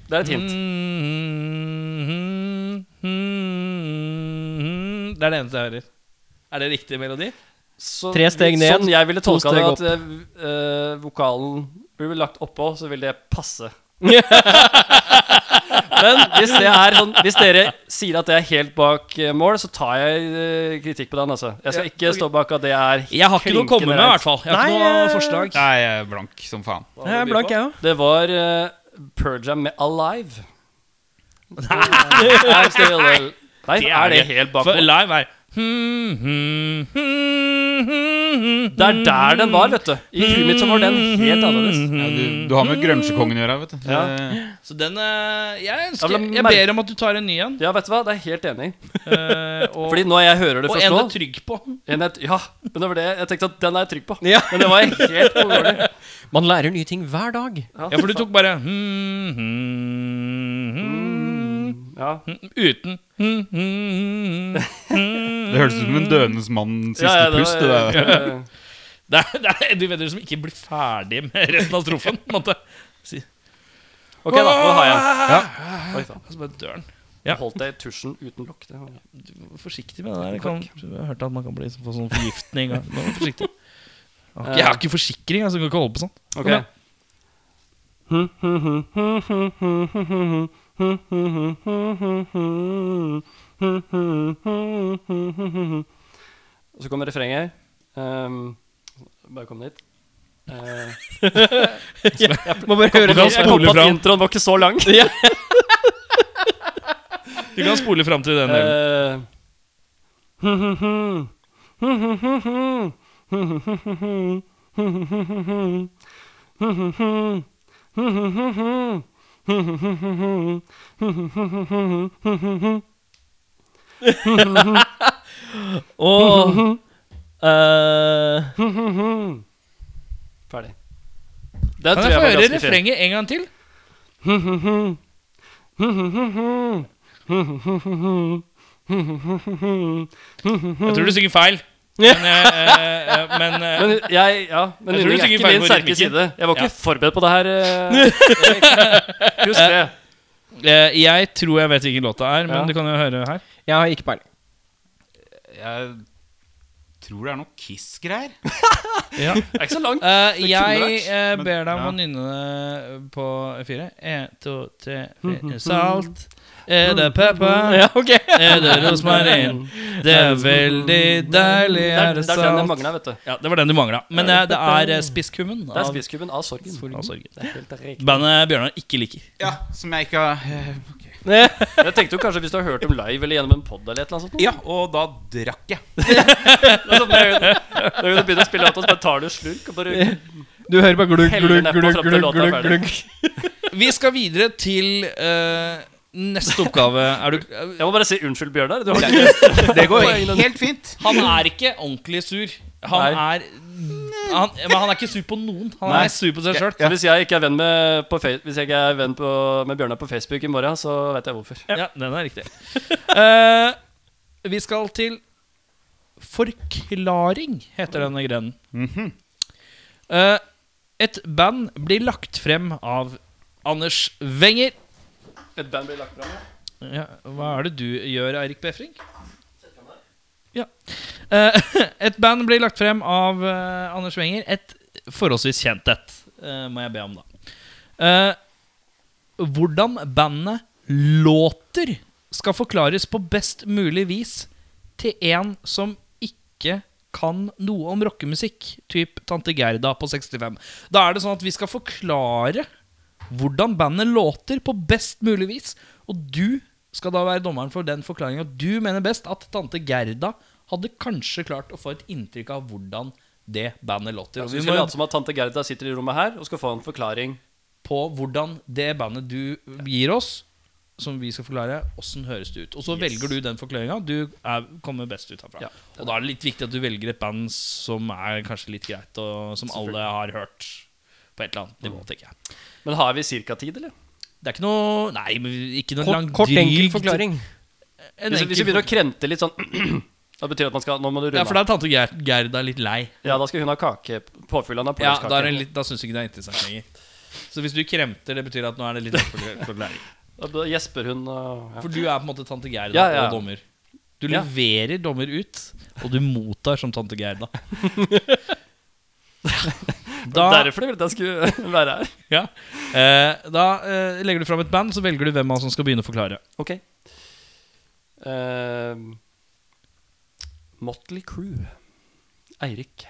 C: Det er et
B: Mm.
C: hint.
B: Det er det eneste jeg hører. Er det riktig melodi?
C: Så,
A: Tre steg ned,
C: Sånn jeg ville
A: to
C: tolka det,
A: steg
C: at eh, vokalen blir vel lagt oppå, så vil det passe. Men hvis, det er sånn, hvis dere sier at det er helt bak eh, mål, så tar jeg eh, kritikk på den. Altså. Jeg skal ikke stå bak at det er
B: Jeg har ikke noe å komme med, i hvert fall. Jeg har ikke
A: Nei,
B: noe
A: eh,
B: forslag.
D: Nei, jeg er blank som faen.
A: Jeg er blank, jeg òg.
C: Det var uh, Perjam med Alive. I'm still alive. Nei, er det helt bak
B: For
C: mål?
B: live er Det
C: Det er der den var, vet du. I huet mitt så var den helt annerledes.
D: Ja, du, du har med grønsjekongen å gjøre, vet du.
C: Ja.
D: Det-
B: Så den eh, Jeg
C: Ja,
B: ønsker
C: men
B: Jeg
C: mer-
B: ber om at du tar en ny en.
C: Ja, vet du hva? Det er jeg helt enig. i.
B: eh, og,
C: Fordi når jeg hører det
B: og
C: først
B: en
C: nå
B: du er trygg på.
C: en jeg, Ja, men det var det jeg tenkte at den er jeg trygg på.
A: Ja.
C: Men det var helt ulovlig.
A: Man lærer nye ting hver dag.
B: Ja, for du tok bare hmm, hmm, hmm,
C: ja.
B: Uten hmm, hmm, hmm.
D: Det høres ut som en dødens mann siste
C: Ja, ja,
D: pust. Det
C: var-
D: der.
B: Det er, det er du vet du som ikke blir ferdig med resten av strofen. på en måte.
C: Ok, da. Nå har jeg den. Oi, faen.
B: Og så bare dør den.
C: Jeg Holdt deg i tusjen uten lokk. Det var-
B: Vær Forsiktig med det der. Jeg, kan, jeg hørte at man kan bli, få sånn forgiftning. av- Nå, vær forsiktig. Jeg har ikke-
C: Eh.
B: Jeg har ikke forsikring, altså, jeg kan ikke holde på sånn.
C: Ok.
B: igjen.
C: Og så kommer refrenget. Um, bare kom dit. Uh,
A: Må bare høre
B: kan
A: det.
C: jeg kom
B: spole
C: på at
B: fram.
C: introen var ikke så lang.
B: Du kan spole fram til den. delen.
C: Eh,
A: Og eh,
C: Ferdig. Det
B: Kan
C: tror
B: jeg
C: jeg
B: få
C: var
B: høre
C: ganske fint.
B: refrenget en gang til? Jeg tror du synger feil. Men, eh, eh, men eh,
C: Men jeg, ja, men
B: Jeg tror du
C: nynning er
B: synger
C: ikke
B: feil
C: min
B: på
C: sterke
B: rytmikken.
C: side. Jeg var ikke
B: Ja.
C: forberedt på det her. eh, Erik. Husk det.
B: Eh, jeg tror jeg vet hvilken låt det er, men
C: Ja.
B: du kan jo høre her.
A: Jeg har ikke peiling.
D: Jeg tror det er noe Kiss-greier.
C: Det er ikke så langt.
B: Eh,
C: Det kunne
B: jeg
C: vært,
B: eh,
D: men-
B: ber deg om
D: ja.
B: å nynne det på fire. En, to, tre, fire. Salt. Er det pepper?
A: Ja, ok
B: Er det rosmarin? Det er veldig deilig.
C: Det
B: Er
C: er,
B: det
C: det er den jeg
B: salt?
C: mangla, vet du.
B: Ja, det var den du mangla. Men eh, det er eh, spisskummen
C: Det er
B: av,
C: spisskuben av sorgen.
B: av sorgen.
C: Det er helt riktig.
B: Bandet Bjørnar ikke liker.
D: Ja, Som jeg ikke har eh,
C: Jeg tenkte jo kanskje hvis du har hørt dem live eller gjennom en pod eller et eller annet sånt.
D: Ja, og da drakk jeg.
C: Det er sånn, når du- Når du begynner å spille låta, så bare tar du en slurk og bare
A: Du hører bare glugg,
C: Heller
A: glugg,
C: nedpå
A: glugg,
C: fram til
A: glugg,
C: låta er
A: glugg,
C: ferdig.
A: glugg.
B: Vi skal videre til eh, neste oppgave. Er du, eh,
C: Jeg må bare si unnskyld, Bjørnar. Du har ikke
D: Det går helt fint.
B: han er ikke ordentlig sur. Han
C: Nei.
B: er han, Men han er ikke sur på noen. Han
D: Nei.
B: er sur på seg sjøl.
C: Så hvis jeg ikke er venn med, på Fe- Hvis jeg ikke er venn på, med Bjørnar på Facebook i morgen, så vet jeg hvorfor.
B: Ja, den er riktig. Eh, vi skal til Forklaring, heter denne grenen. Eh, et band blir lagt frem av Anders Wenger.
C: Et band blir lagt fram.
B: Ja, hva er det du gjør, Eirik Befring? Ja. Eh, et band blir lagt frem av eh, Anders Wenger. Et forholdsvis kjent et, eh, må jeg be om, da. Eh, hvordan bandet låter skal forklares på best mulig vis til en som ikke kan noe om rockemusikk, typ Tante Gerda på 65. Da er det sånn at vi skal forklare hvordan bandet låter på best mulig vis, og du skal da være dommeren for den forklaringa du mener best at Tante Gerda hadde kanskje klart å få et inntrykk av hvordan det bandet låter. Og
C: Vi
B: vi
C: skal
B: må
C: late som at tante Gerda sitter i rommet her og skal få en forklaring.
B: på hvordan det bandet du gir oss, som vi skal forklare, åssen høres det ut. Og så velger du den forklaringa du er, kommer best ut herfra.
C: Ja.
B: og da er det litt viktig at du velger et band som er kanskje litt greit, og som alle har hørt på et eller annet nivå, tenker jeg.
C: Men har vi ca. tid, eller?
B: Det er ikke noe Nei, men ikke noe
A: Kort, kort enkel forklaring.
B: En
C: Hvis,
B: enkel
C: hvis vi begynner å krente litt sånn Da betyr det at man skal Nå må du runde
B: Ja, for da
C: av.
B: er tante Ger- Gerda litt lei.
C: Ja, da skal hun ha kake. Påfyll av
B: Ja, Da, er
C: napoleonskake.
B: hun litt- da syns hun ikke det er interessant lenger. Så hvis du kremter, det betyr at nå er det litt for, for,
C: Da gjesper hun og ja.
B: for du er på en måte tante Gerda
C: Ja, ja.
B: og dommer. Du
C: Ja.
B: leverer dommer ut, og du mottar som tante Gerda. da
C: Derfor ville jeg skulle være her.
B: ja, eh, da eh, legger du fram et band, så velger du hvem av oss som skal begynne å forklare.
C: Ok. Eh, Motley Crew. Eirik.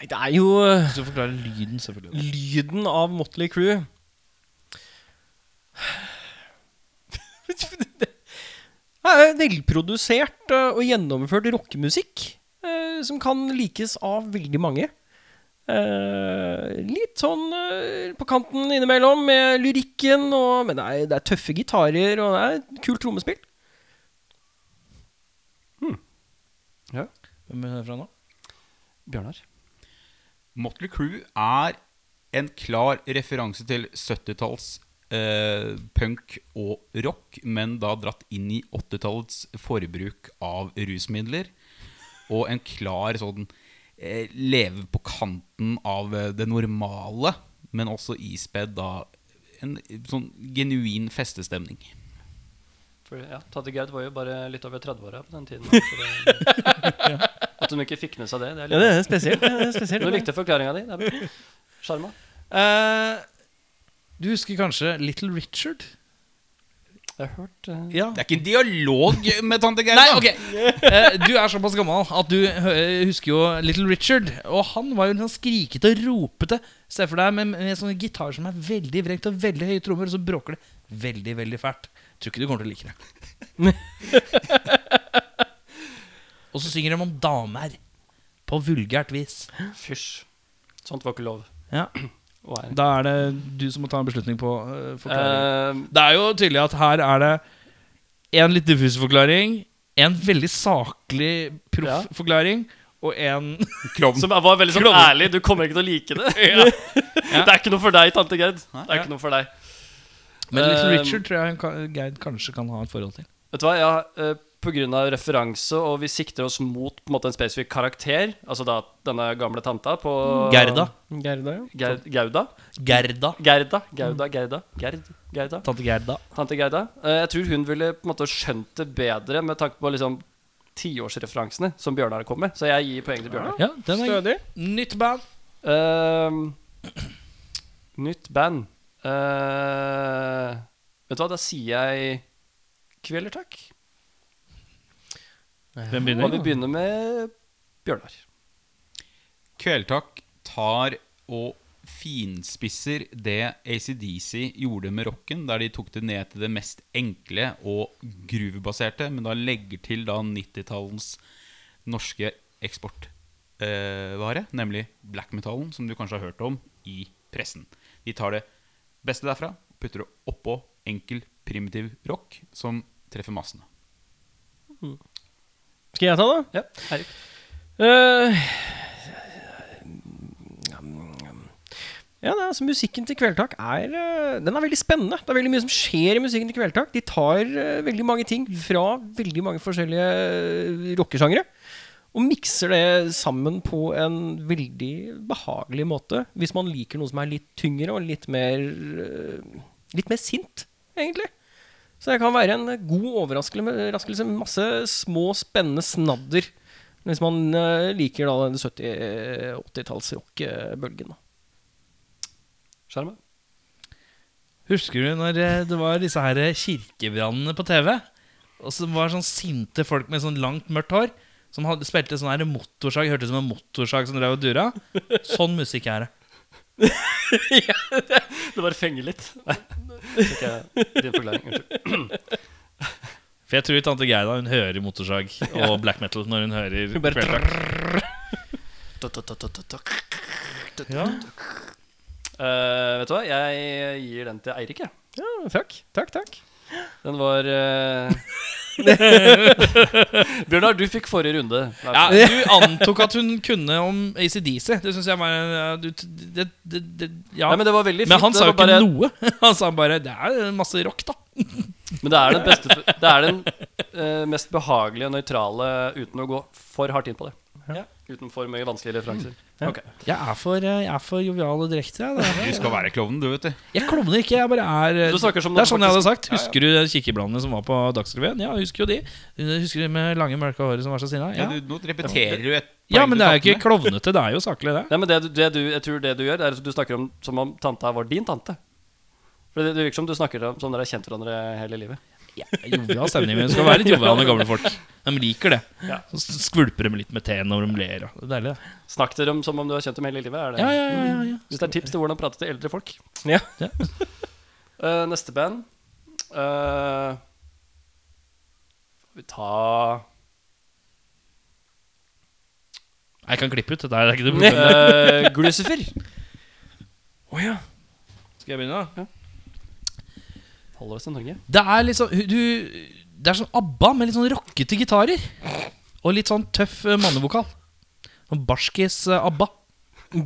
A: Nei, det er jo eh,
B: Du forklarer lyden, selvfølgelig.
A: lyden av Motley Crew Det er velprodusert eh, og gjennomført rockemusikk eh, som kan likes av veldig mange. Eh, litt sånn eh, på kanten innimellom med lyrikken, og, men det er, det er tøffe gitarer, og det er et kult trommespill.
B: Hvem er det fra nå?
C: Bjørnar.
D: Motley Crew er en klar referanse til 70-talls eh, punk og rock, men da dratt inn i 80-tallets forbruk av rusmidler. Og en klar sånn eh, leve på kanten av eh, det normale, men også ispedd da en sånn genuin feststemning.
C: For ja, Tante Gerd var jo bare litt over 30-åra på den tiden. så det- At hun ikke fikk med seg det. det er litt...
A: Ja, det er spesielt. Det er spesielt.
C: Du likte forklaringa di. det er bra. Sjarma.
B: Eh, du husker kanskje Little Richard?
C: Jeg har hørt eh,
B: Ja.
D: Det er ikke en dialog med tante Gerda!
B: Nei, ok Eh, Du er såpass gammel at du hø- husker jo Little Richard. Og han var jo litt sånn skrikete og ropete. Se for deg med, med sånne gitarer som er veldig vrekt og veldig høye trommer, og så bråker det veldig, veldig fælt. Tror ikke du kommer til å like det. og så synger de om damer. På vulgært vis.
C: Fysj. Sånt var ikke lov.
B: Ja.
C: Å, nei.
B: Da er det du som må ta en beslutning på eh, forklaringen.
C: Eh,
B: Det er jo tydelig at her er det en litt diffus forklaring, en veldig saklig proff
C: Ja.
B: forklaring, og en
D: Klovn.
C: som var veldig sånn ærlig. Du kommer ikke til å like det. Det er ikke noe for deg, tante Gerd. Det er ikke noe for deg.
B: Men Little
C: Eh,
B: Richard tror jeg hun kan- Geir kanskje kan ha et forhold til.
C: Vet du hva, jeg har eh, pga. referanse, og vi sikter oss mot på en, måte, en spesifikk karakter. Altså da denne gamle tanta på
B: Gerda.
A: Gerda, ja.
C: Ger Gauda.
B: Gerda.
C: Gerda. Gauda, Gerda. Gerd. Gerda.
B: Tante Gerda.
C: Tante Gerda. Eh, Jeg tror hun ville på en måte skjønt det bedre med tanke på liksom tiårsreferansene som Bjørnar kom med. Så jeg gir poeng til Bjørnar.
B: Ja, den er
A: Stødig.
B: Nytt band.
C: Ehm, nytt band. Eh, vet du hva, da sier jeg Kveler, takk.
B: Hvem
C: Og
B: begynner?
C: vi begynner med Bjørnar.
D: Kveldtak tar og finspisser det ACDC gjorde med rocken, der de tok det ned til det mest enkle og groovebaserte, men da legger til da 90-tallens norske eksportvare, nemlig black-metallen, som du kanskje har hørt om i pressen. De tar det beste derfra, putter det oppå enkel, primitiv rock som treffer massene.
A: Skal jeg ta det?
C: Ja, Erik.
A: Eh, Ja, det er, altså Musikken til Kveldtak er eh, Den er veldig spennende. Det er veldig mye som skjer i musikken til Kveldtak. De tar eh, veldig mange ting fra veldig mange forskjellige eh, rockesjangre. Og mikser det sammen på en veldig behagelig måte. Hvis man liker noe som er litt tyngre og litt mer eh, Litt mer sint, egentlig. Så det kan være en god overraskelse med masse små, spennende snadder. Hvis man eh, liker da den 70-80-tallsrockbølgen.
C: Skjermen.
B: Husker du når eh, det var disse her eh, kirkebrannene på TV? Og som var sånn sinte folk med sånn langt mørkt hår. Som hadde, spilte sånn her motorsag. Hørtes ut som en motorsag som drev og dura. Sånn musikk er det.
C: Det bare fenger litt. Nei, fikk jeg din forklaring. Unnskyld.
B: For jeg tror tante Geida hun hører motorsag og black metal når hun hører Kveldtak. Ja.
C: Eh, vet du hva, jeg gir den til Eirik, jeg.
A: Ja, takk. Takk, takk.
C: Den var eh, Bjørnar, du fikk forrige runde.
B: Ja, du antok at hun kunne om ACDC. Det syns jeg var eh, du, det, det, det, ja.
C: Nei, men det var veldig fint.
B: Men han
C: det
B: sa jo
C: var
B: ikke
C: bare-
B: noe. Han sa bare 'det er masse rock', da.
C: Men det er den, beste, det er den eh, mest behagelige og nøytrale uten å gå for hardt inn på det. Uten for mye vanskelige referanser.
B: Jeg er for, eh, jeg er for jovial og direkte. Jeg, det er-
D: Du skal være klovnen, du, vet du.
B: jeg klovner ikke. Jeg bare er eh,
C: Du snakker som
B: Det
C: den
B: er sånn jeg
C: faktisk-
B: hadde sagt. Husker du kikkebladene som var på Dagsrevyen? Ja, jeg husker jo de. Husker de med lange, mørke håret som var så sinna?
D: Ja.
B: Ja.
D: du nå repeterer du et
B: ja, men det er jo
D: poeng
B: ikke
D: til
B: klovnete. Det er jo saklig, det.
C: Nei, men det, du- det du, jeg tror det du gjør, er at du snakker om som om tanta var din tante. For det, det virker som du snakker om som dere har kjent hverandre hele livet.
B: Jovial stemning. Men du skal være litt jovial med gamle folk. De liker det.
C: Ja.
B: Så skvulper de litt med teen når de ler. og Det er deilig, det.
C: Snakk dere om som om du har kjent dem hele livet. Er det?
B: Ja, ja, ja, ja, ja.
C: Hvis det er tips til hvordan prate til eldre folk.
A: Ja.
B: Ja.
C: Eh, neste band Eh, Får vi ta
B: Jeg kan klippe ut. Det er ikke noe problem.
C: uh, Glucifer.
B: Skal jeg begynne, da?
C: Holder oss en tanke.
B: Det er liksom du, Det er sånn ABBA med litt sånn rockete gitarer. Og litt sånn tøff eh, mannevokal. Sånn barskis eh, ABBA.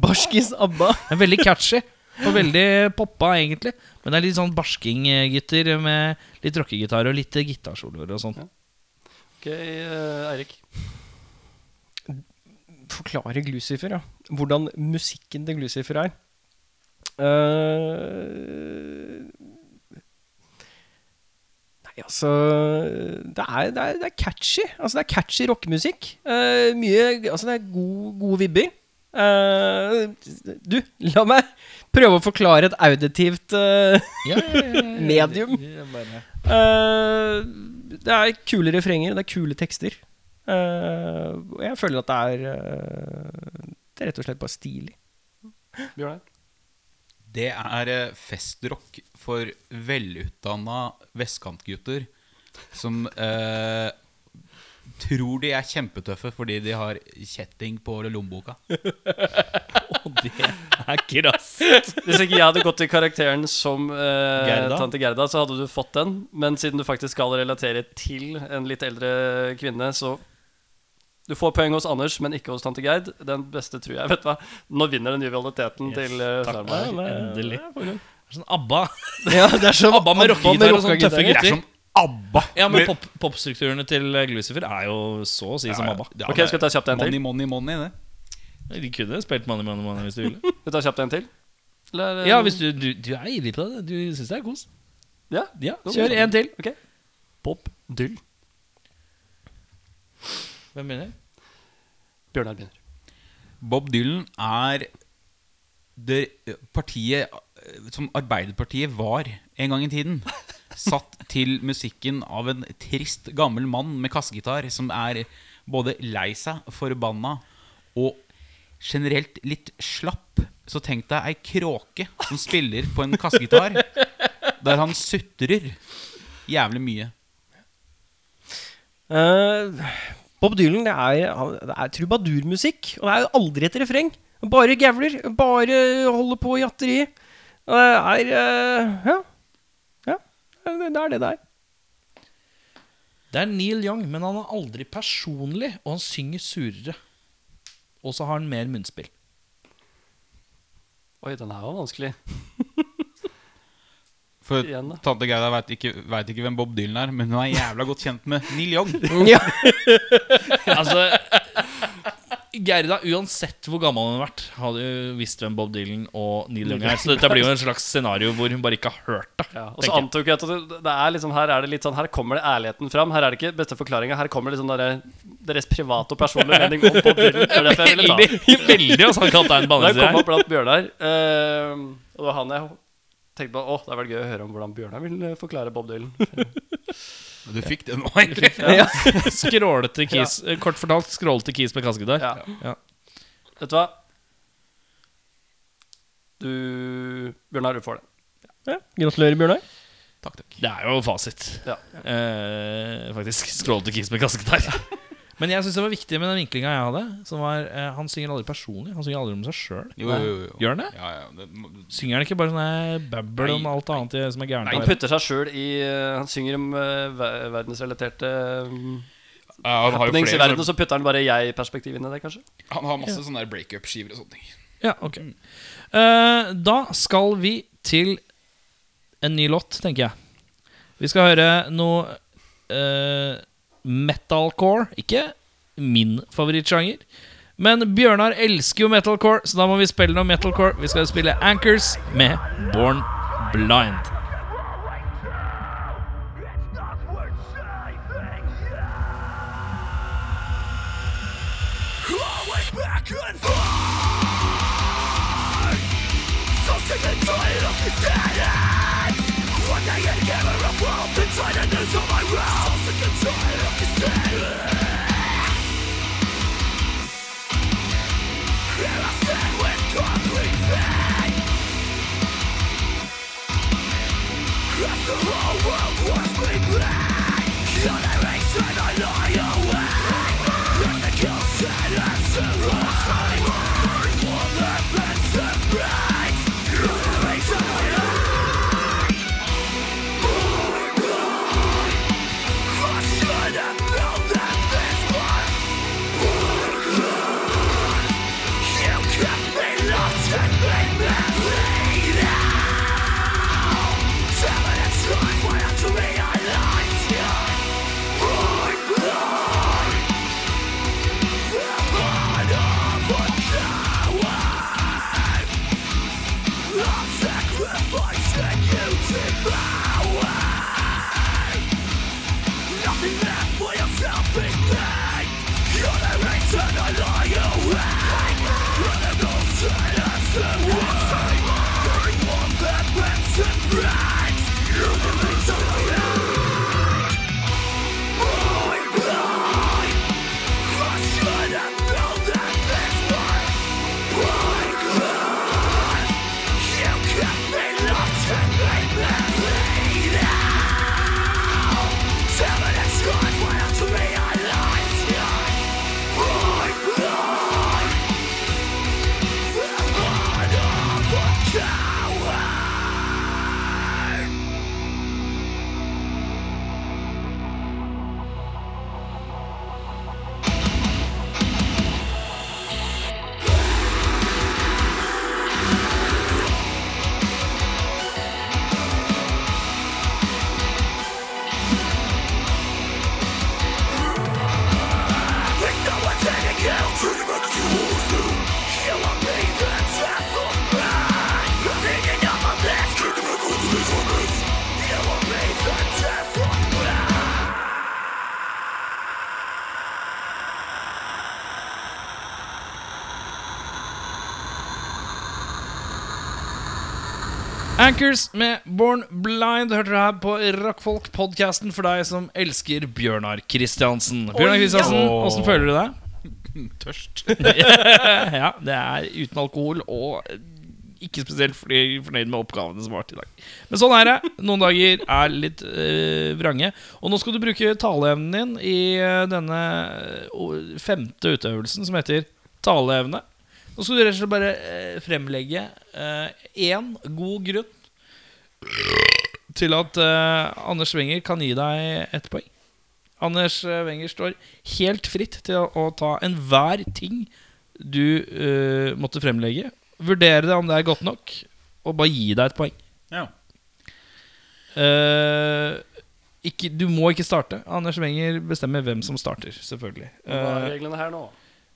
A: Barskis ABBA.
B: Det er veldig catchy. Og veldig poppa, egentlig. Men det er litt sånn barskinggutter med litt rockegitar og litt eh, gitarsoloer og sånn.
C: Ok, eh, Eirik.
A: Forklare Glucifer, ja. Hvordan musikken til Glucifer er. Eh, nei, altså det er, det, er, det er catchy. Altså, det er catchy rockemusikk. Eh, mye Altså, det er god, gode vibber. Eh, du, la meg prøve å forklare et auditivt eh, medium. Eh, det er kule refrenger, det er kule tekster. Eh, og jeg føler at det er eh, Det er rett og slett bare stilig.
C: Bjørnar.
D: Det er eh, festrock for velutdanna vestkantgutter som eh, tror de er kjempetøffe fordi de har kjetting på lommeboka.
C: Hvis ikke jeg hadde gått i karakteren som eh,
B: Gerda?
C: tante Gerda, så hadde du fått den. Men siden du faktisk skal relatere til en litt eldre kvinne, så Du får poeng hos Anders, men ikke hos tante Gerd. Den beste, tror jeg. Vet du hva? Nå vinner den jovialiteten til uh, Slarmar.
B: Endelig. Det er Sånn ABBA.
A: Ja, det er sånn
B: ABBA med rockegitar og sånn tøffe
D: Det er
B: gutter.
D: som ABBA.
B: Ja, men pop- popstrukturene til eh, Glucifer er jo så å si som ABBA.
D: Ja,
C: Ok,
D: det er
C: skal vi ta kjapt en til?
D: Money, money, money, det.
B: De kunne spilt Money Money Money hvis de ville.
C: Skal vi ta kjapt en til? Eller, eh,
B: Ja, hvis du, du, du er ivrig på det. Du syns det er kos.
C: ja?
B: Ja,
C: Jo,
B: Kjør
C: sånn.
B: en til.
C: Ok. Bob Dyll.
B: Hvem begynner?
C: Bjørnar begynner.
D: Bob Dylan er det partiet eh, som Arbeiderpartiet var en gang i tiden. Satt til musikken av en trist, gammel mann med kassegitar som er både lei seg, forbanna og generelt litt slapp. Så tenk deg ei kråke som spiller på en kassegitar, der han sutrer jævlig mye.
A: Eh, Bob Dylan, det er, han- det er trubadurmusikk. Og det er jo aldri et refreng. Bare gavler. Bare holder på i jatteri. Og Det er eh, Ja. ja. Det det er det det er.
B: Det er Neil Young, men han er aldri personlig, og han synger surere. Og så har han mer munnspill.
C: Oi, den her var vanskelig.
D: For
C: Igjen, da.
D: tante Gerda veit ikke, vet ikke hvem Bob Dylan er, men hun er jævla godt kjent med Neil Young.
B: Altså Gerda, uansett hvor gammel hun har vært, hadde jo visst hvem Bob Dylan og Neil Young er. Så dette blir jo en slags scenario hvor hun bare ikke har hørt det.
C: Ja, og så
B: tenker jeg.
C: antok jeg at det, det er liksom, her er det litt sånn Her kommer det ærligheten fram. Her er det ikke beste forklaringa. Her kommer liksom dere, deres private og personlige mening om Bob Dylan. Det er derfor jeg ville ta den.
B: Veldig, veldig hos han kaptein
C: Da jeg kom
B: Bannesen her.
C: opp blant Bjørnar, eh, og det var han jeg tenkte på Å, det hadde vært gøy å høre om hvordan Bjørnar vil eh, forklare Bob Dylan.
D: Du fikk den nå, egentlig.
B: Skrålete kis. eh, Kort fortalt skrålete kis med kassegitar.
C: Ja.
B: Ja.
C: Vet du hva? Du Bjørnar, du får det.
A: Ja. Gratulerer, Bjørnar.
B: Det er jo fasit.
C: Ja.
B: Eh, faktisk. Skrålete kis med kassegitar. Men jeg syns det var viktig med den vinklinga jeg hadde. Som var, eh, han synger aldri personlig. Han synger aldri om seg sjøl.
D: Jo, jo, jo, jo.
B: Gjør han det?
D: Ja, ja, det må-
B: Synger han ikke bare sånn babbel om alt annet i- som er gærent?
C: Han
B: her?
C: putter seg sjøl i eh, Han synger om eh, ver- verdensrelaterte um,
D: Ja, han, har jo
C: happenings i
D: flere,
C: verden, og så putter han bare jeg-perspektivet inn i det, kanskje.
D: sånne- han har masse sånne der breakup-skiver og sånne ting.
B: Ja, ok Eh, Da skal vi til en ny låt, tenker jeg. Vi skal høre noe eh, metalcore. Ikke min favorittsjanger. Men Bjørnar elsker jo metalcore, så da må vi spille noe metalcore. Vi skal spille Anchors med Born Blind.
F: Seven and strife, why have to be alive? Born blind.
B: Anchors med Born Blind hørte du her på Rockfolk-podkasten for deg som elsker Bjørnar Kristiansen. Bjørnar Kristiansen, Åssen føler du deg?
D: Tørst.
B: Ja, Det er uten alkohol og ikke spesielt fordi- fornøyd med oppgavene som har vært i dag. Men sånn er det. Noen dager er litt eh, vrange. Og nå skal du bruke taleevnen din i eh, denne eh, femte utøvelsen, som heter taleevne. Nå skal du rett og slett bare eh, fremlegge én god grunn til at eh, Anders Wenger kan gi deg ett poeng. Anders eh, Wenger står helt fritt til å ta enhver ting du eh, måtte fremlegge. Vurdere det om det er godt nok, og bare gi deg et poeng.
D: Ja.
B: Eh, ikke, du må ikke starte. Anders Wenger bestemmer hvem som starter, selvfølgelig.
C: Hva er
B: Eh,
C: reglene her nå?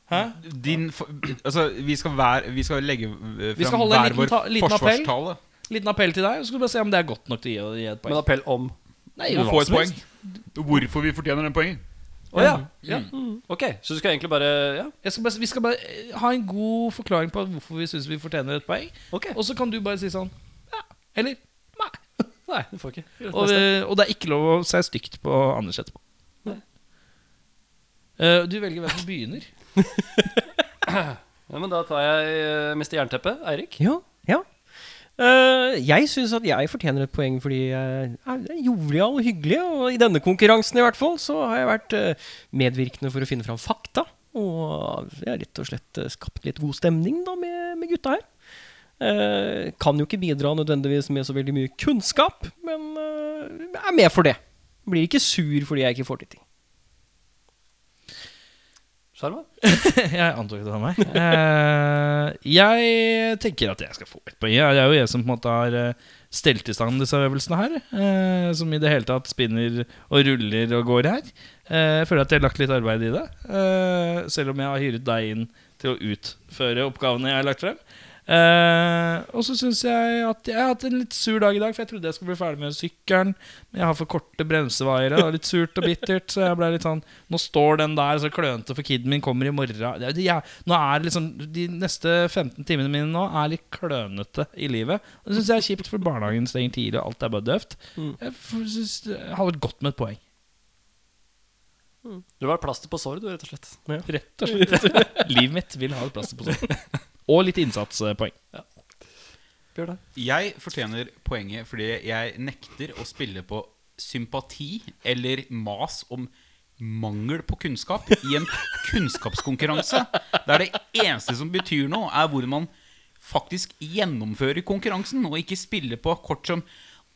B: hæ?
D: Din, for- altså, vi skal, hver, vi skal legge eh,
B: Vi skal
D: fram
B: holde en
D: hver
B: liten
D: vår
B: ta- liten appell.
D: forsvarstale.
B: Liten appell til deg, og så skal du bare se om det er godt nok til å gi, gi et
C: Men
B: poeng.
C: appell om.
B: Nei,
D: Og
B: hva
D: få et
B: som
D: poeng. Mm.
B: helst.
D: Hvorfor vi fortjener den poenget.
C: Å ja. ja. Ok, så du skal egentlig bare Ja,
B: Jeg skal bare, vi skal bare eh, ha en god forklaring på hvorfor vi syns vi fortjener et poeng.
C: ok.
B: Og så kan du bare si sånn Ja, eller nei.
C: Nei, du får ikke. Greit,
B: Og, eh,
C: neste.
B: og det er ikke lov å si stygt på Anders etterpå.
C: Nei.
B: Eh, du velger hvem som begynner.
C: Ja, men da tar jeg eh, Mr. Jernteppe. Eirik.
A: Ja, ja. Eh, jeg syns at jeg fortjener et poeng fordi jeg er jovial og hyggelig. Og i denne konkurransen i hvert fall så har jeg vært eh, medvirkende for å finne fram fakta. Og jeg har rett og slett eh, skapt litt god stemning da med, med gutta her. Eh, kan jo ikke bidra nødvendigvis med så veldig mye kunnskap, men eh, er med for det. Blir ikke sur fordi jeg ikke får til ting.
C: Sjarma.
B: jeg antok det var meg. Eh, jeg tenker at jeg skal få et poeng. Ja, Det er jo jeg som på en måte har eh, stelt i stand disse øvelsene her. eh, som i det hele tatt spinner og ruller og går her. Eh, jeg føler at jeg har lagt litt arbeid i det. eh, selv om jeg har hyret deg inn til å utføre oppgavene jeg har lagt frem. Eh, og så syns jeg at jeg har hatt en litt sur dag i dag, for jeg trodde jeg skulle bli ferdig med sykkelen. Men jeg har for korte bremsevaiere. Det var litt surt og bittert. Så jeg ble litt sånn Nå står den der så klønete, for kiden min kommer i morgen. Det- det- Jeg, nå er det liksom De neste 15 timene mine nå er litt klønete i livet. Og Det syns jeg er kjipt, for barnehagen stenger tidlig, og alt er bare døvt.
A: Mm.
B: Jeg f- synes det hadde vært godt med et poeng.
C: Du var plaster på såret, du, rett og slett.
B: Rett og slett. Livet mitt vil ha et plaster på sånn. Og litt innsatspoeng.
C: Bjørn,
D: Jeg fortjener poenget fordi jeg nekter å spille på sympati eller mas om mangel på kunnskap i en kunnskapskonkurranse. Der det eneste som betyr noe, er hvor man faktisk gjennomfører konkurransen, og ikke spiller på kort som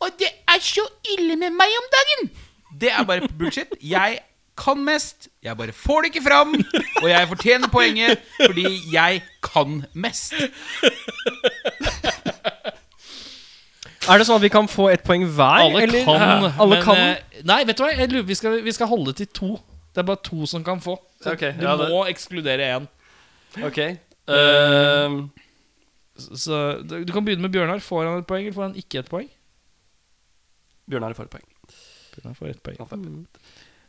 D: Og det er så ille med meg om dagen! Det er bare bullshit. Jeg kan mest, jeg bare får det ikke fram, og jeg fortjener poenget fordi jeg kan mest.
A: Er det sånn at vi kan få ett poeng hver?
B: Alle
A: eller?
B: kan.
A: Ja, alle
B: men,
A: kan.
B: eh, Nei, vet du hva? Jeg lurer, vi, skal, vi skal holde til to. Det er bare to som kan få. Så
C: Ok,
B: du Eh,
C: ja, det-
B: må ekskludere én.
C: Ok. Ehm,
B: Så du du kan begynne med Bjørnar. Får han et poeng, eller får han ikke et poeng?
C: Bjørnar får et poeng.
B: Bjørnar får ett poeng.
C: Han får et poeng.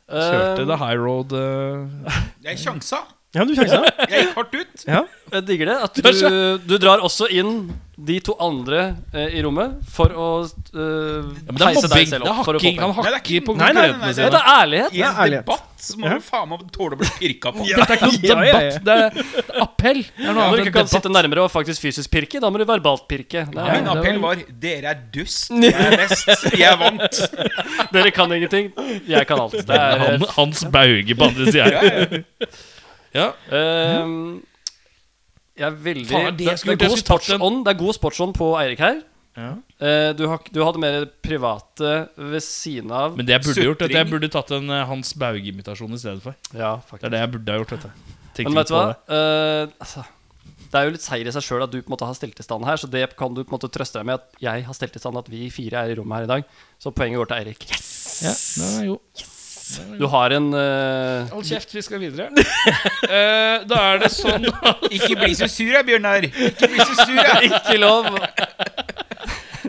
B: Kjørte
C: Ehm,
B: the high road. eh.
D: Jeg sjansa.
A: Ja, du sjansa.
D: Jeg gikk hardt ut.
A: Ja.
C: Jeg digger det. At du, du drar også inn de to andre eh, i rommet for å eh,
B: Men det er
C: heise deg
B: mobbing.
C: selv
B: Det er
C: opp. For å få
B: hakking. Han
C: poeng.
D: Nei, det er
B: hakker
D: ikke-
B: på
D: Nei, nei, nei, nei,
B: konkurrentene
C: Nei,
B: sine.
C: det er ærlighet.
D: I en
A: ærlighet.
D: debatt så må du faen meg tåle å bli pirka på.
B: Dette er ikke noe
A: Ja, ja, ja.
B: debatt, det er appell. Det er noe
C: Når du
B: annet
C: ikke
B: enn
C: kan sitte
B: debatt.
C: nærmere og faktisk fysisk pirke, da må du verbalt pirke. Det
D: Min
C: er,
D: appell var 'Dere er dust, jeg er best, jeg vant'.
C: dere kan ingenting. Jeg kan alt. Det er
B: Han, Hans Bauge på andre sida.
C: Ehm, Jeg er veldig
B: Faen, er det
C: det,
B: jeg
C: det,
B: skulle
C: er
B: gjort? Jeg skulle
C: god
B: tatt en-
C: sportsånd, det er god sportsånd på Eirik her.
B: Ja.
C: Eh, du, har, du hadde mer private ved siden av.
B: Men det jeg burde gjort, er at jeg burde tatt en eh, Hans Bauge-imitasjon i stedet for.
C: ja,
B: Det
C: faktisk.
B: er det jeg burde ha gjort. Vet du. Tenk
C: Men
B: litt
C: vet du hva?
B: på det.
C: Eh, altså, det er jo litt seier i seg sjøl at du på en måte har stelt i stand her, så det kan du på en måte trøste deg med at jeg har stelt i stand at vi fire er i rommet her i dag. Så poenget går til Eirik.
B: Ja, nei, jo.
C: Du har en eh,
B: Hold kjeft, vi skal videre. Eh, da er det sånn
D: Ikke bli så sur, jeg, Bjørnar. Ikke bli så sur, jeg.
C: Ikke lov!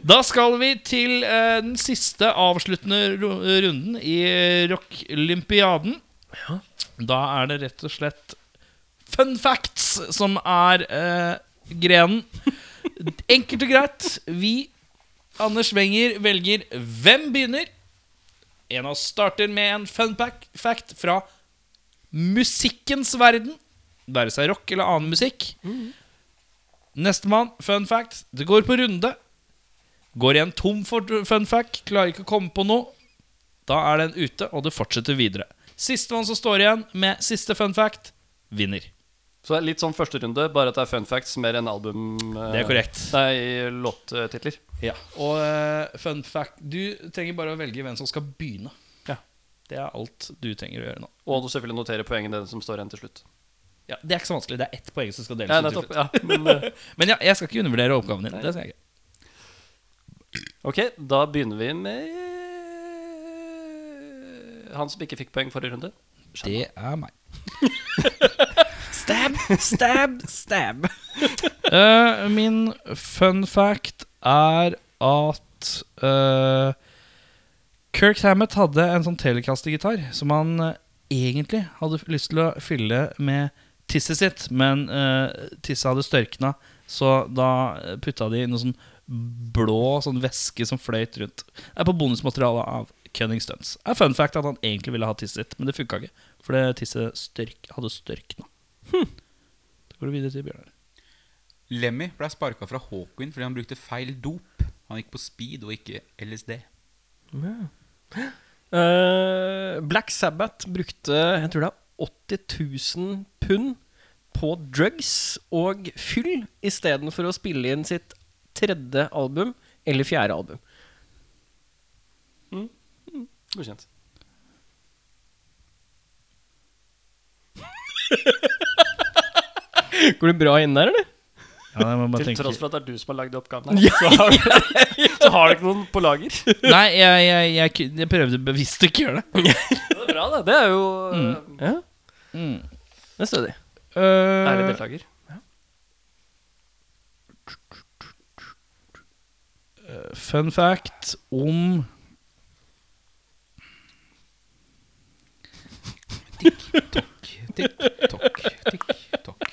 B: Da skal vi til eh, den siste avsluttende ru- runden i Rock-olympiaden. Da er det rett og slett fun facts som er eh, grenen. Enkelt og greit. Vi Anders Wenger velger hvem begynner. En av oss starter med en fun pack- fact fra musikkens verden. Være seg rock eller annen musikk. Nestemann, fun fact. Det går på runde. Går igjen tom for fun fact. Klarer ikke å komme på noe. Da er den ute, og det fortsetter videre. Sistemann som står igjen med siste fun fact, vinner.
C: Så det er litt sånn første runde, bare at det er fun facts mer enn album... eh,
B: Det er korrekt.
C: Nei, låttitler.
B: Ja, og eh, fun fact Du trenger bare å velge hvem som skal begynne.
C: Ja.
B: Det er alt du trenger å gjøre nå.
C: Og du selvfølgelig notere poengene den som står igjen til slutt.
B: Ja, Det er ikke så vanskelig. Det er ett poeng som skal deles
C: Ja,
B: ut. til
C: nettopp.
B: slutt.
C: Ja, men, eh,
B: Men ja, jeg skal ikke undervurdere oppgaven din. Det skal jeg ikke.
C: Ok, da begynner vi med Han som ikke fikk poeng forrige runde.
B: Det er meg.
I: Stab, stab, stab.
B: Eh, min fun fact er at eh, Kirk Hammett hadde en sånn Telecaster-gitar som han eh, egentlig hadde lyst til å fylle med tisset sitt, men eh, tisset hadde størkna, så da eh, putta de noe sånn blå sånn væske som fløyt rundt. Det er på bonusmaterialet av Cunning Stunts. Det er fun fact at han egentlig ville ha tisset sitt, men det funka ikke, for det tisset størk, hadde størkna. Hm. Da går du videre til Bjørnar.
D: Lemmy ble sparka fra Hawkwind fordi han brukte feil dop. Han gikk på speed og ikke LSD.
A: Eh, Black Sabbath brukte jeg tror det er 80 000 pund på drugs og fyll istedenfor å spille inn sitt tredje album eller fjerde album.
C: Godkjent.
A: Går det bra inn der, eller?
B: Ja, jeg må bare
C: Til
B: tenke-
C: tross for at det er du som har lagd oppgaven her, så, har du, så har du ikke noen på lager. Det
B: Nei, jeg, jeg, jeg, ku- jeg prøvde bevisst å ikke gjøre det.
C: er bra, det. Det er jo eh,
A: Ja. Det er stødig.
C: ærlig
B: Uh,
C: deltaker.
B: fun fact om
D: Tikk, tokk, tikk, tokk.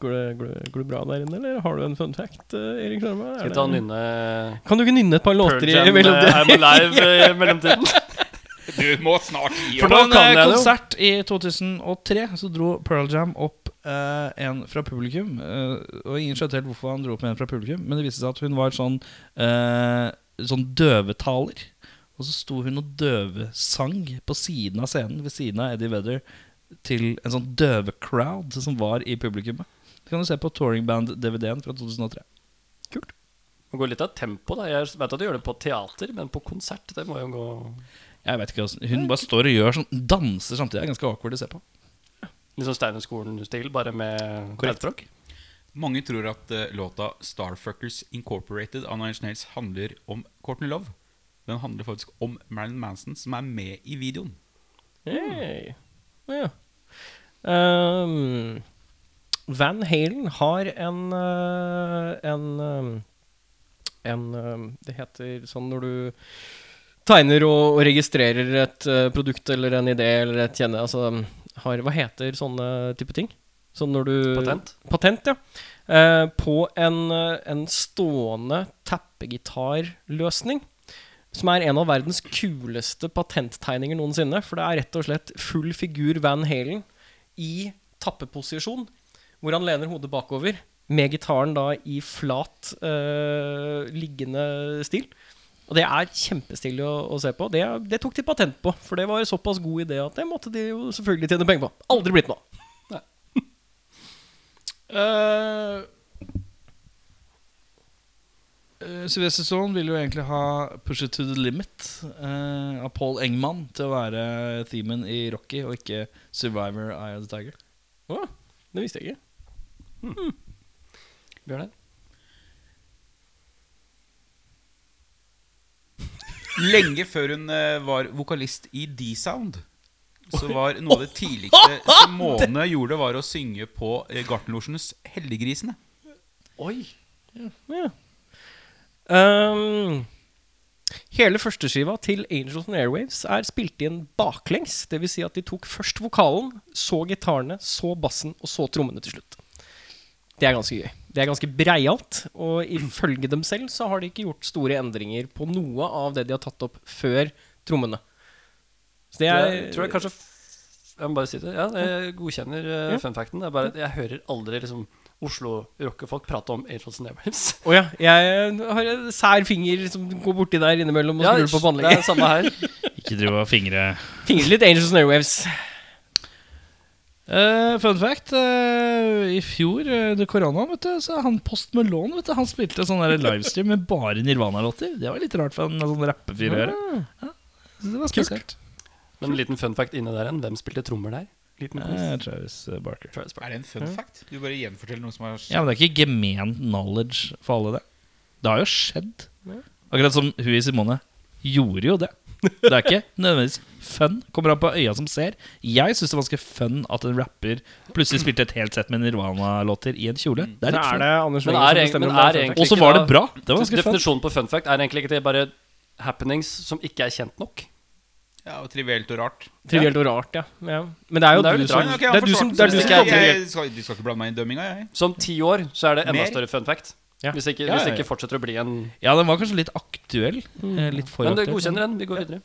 A: Går det, går, det, går det bra der inne, eller har du en fun fact, eh, Erik Sjarma? Er
C: Skal vi ta og
A: det-
C: nynne
A: Kan du ikke nynne et par
C: Pearl
A: låter i
C: Jam,
A: mellom
C: eh,
A: det?
C: I'm Alive eh, i mellomtiden?
D: Du må snart gi
B: På
D: opp.
C: For nå
B: en
C: kan jeg
B: eh,
C: det jo.
B: konsert i 2003 så dro Pearl Jam opp eh, en fra publikum. eh, og ingen skjønte helt hvorfor han dro opp med en fra publikum, men det viste seg at hun var sånn, eh, sånn døvetaler. Og så sto hun og døvesang på siden av scenen, ved siden av Eddie Vedder, til en sånn døvecrowd som var i publikummet. Det kan du se på Touring Band-DVD-en fra 2003.
C: Det går litt av tempo, da. Jeg vet at du gjør det på teater, men på konsert, det må jo gå
B: Jeg vet ikke hvordan Hun bare står og gjør sånn danser samtidig. Det er ganske awkward å se på.
C: litt sånn Steinerskolen-stil, bare med tegnspråk.
D: Mange tror at eh, låta 'Starfuckers Incorporated' av Nine Snails handler om Courtney Love. Den handler faktisk om Marilyn Manson, som er med i videoen.
A: Hey. Ja. Ehm, Van Halen har en eh, en ehm, en ehm, Det heter sånn når du tegner og, og registrerer et eh, produkt eller en idé eller et kjenne altså, um, har, Hva heter sånne type ting? Sånn når du
C: Patent.
A: Patent, ja. Eh, på en, eh, en stående tappegitarløsning. Som er en av verdens kuleste patenttegninger noensinne. For det er rett og slett full figur Van Halen i tappeposisjon. Hvor han lener hodet bakover, med gitaren da i flat, eh, liggende stil. Og det er kjempestilig å, å se på. Det, det tok de patent på, for det var såpass god idé at det måtte de jo selvfølgelig tjene penger på. Aldri blitt noe.
B: Uh, eh, Sylvester Stallone ville jo egentlig ha 'Push it to the limit' eh, av Paul Engman til å være themen i Rocky, og ikke 'Survivor Eye of the Tiger'.
A: Å, det visste jeg ikke. Hmm.
C: Bjørnar?
D: Lenge før hun eh, var vokalist i D-Sound, så var noe av det tidligste Simone gjorde, var å synge på eh, Gartnerlosjenes Heldiggrisene.
A: Ja. Um, Ehm, Hele førsteskiva til Angels and Airwaves er spilt inn baklengs. Dvs. Si at de tok først vokalen, så gitarene, så bassen og så trommene til slutt. Det er ganske gøy. Det er ganske breialt, og ifølge dem selv så har de ikke gjort store endringer på noe av det de har tatt opp før trommene. Så det er
C: Jeg tror jeg kanskje f- Jeg må bare si det. Ja, jeg godkjenner eh, fun facten. Det er bare at jeg hører aldri liksom Oslo-rockefolk prate om Angels and Airwaves.
A: Å ja, jeg har en sær finger som går borti der innimellom og
C: Ja,
A: skrur på
C: det er
A: båndlegger.
C: det samme her.
J: Ikke drive og fingre
A: Fingrer litt Angels and Airwaves.
B: Eh, fun fact. eh, I fjor, eh, under koronaen, vet du, så han Post Melon vet du, Han spilte sånn der livestream med bare Nirvana-låter. Det var litt rart for en sånn rappefyr å gjøre. Ja, så det var spesielt.
C: Men en liten fun fact inne der igjen. Hvem spilte trommer der? Liten quiz.
B: Eh, Travis Barker.
C: Travis
D: Er
C: Barker.
D: det en fun fact? Du bare gjenforteller noe som har
B: Ja, men det er ikke gemen knowledge for alle det. Det har jo skjedd. Akkurat som hun i Simone gjorde jo det. Det er ikke nødvendigvis fun. Kommer an på øya som ser. Jeg syns det var ganske fun at en rapper plutselig spilte et helt sett med Nirvana-låter i en kjole. Det er litt fun.
A: Anders
C: Men er, egentlig- men er egentlig
B: Og så
C: ikke
B: var
C: da-
B: det bra. Det var ganske fun.
C: Definisjonen på fun fact er egentlig ikke det bare happenings som ikke er kjent nok.
D: Ja, og trivielt og rart.
A: Trivielt og rart, ja. ja. Men det er jo
C: Men det er jo
A: du
C: litt
A: som
C: rart.
D: Ok,
A: Det
D: han
A: er du som,
D: forsvarte
A: det er
D: seg.
A: du som
D: Jeg-
A: kalte det.
D: jeg skal- Du skal ikke blande meg inn i dømminga, jeg.
C: Som ti år så er det enda
D: Mer?
C: større fun fact.
A: Ja.
C: Hvis, det ikke,
B: Ja,
C: hvis
B: ja,
C: det
B: ja.
C: ikke fortsetter å bli en
B: Ja, den var kanskje litt aktuell. eh, Litt for
C: Mm. Men det
B: aktuell.
C: godkjenner den. Vi går videre.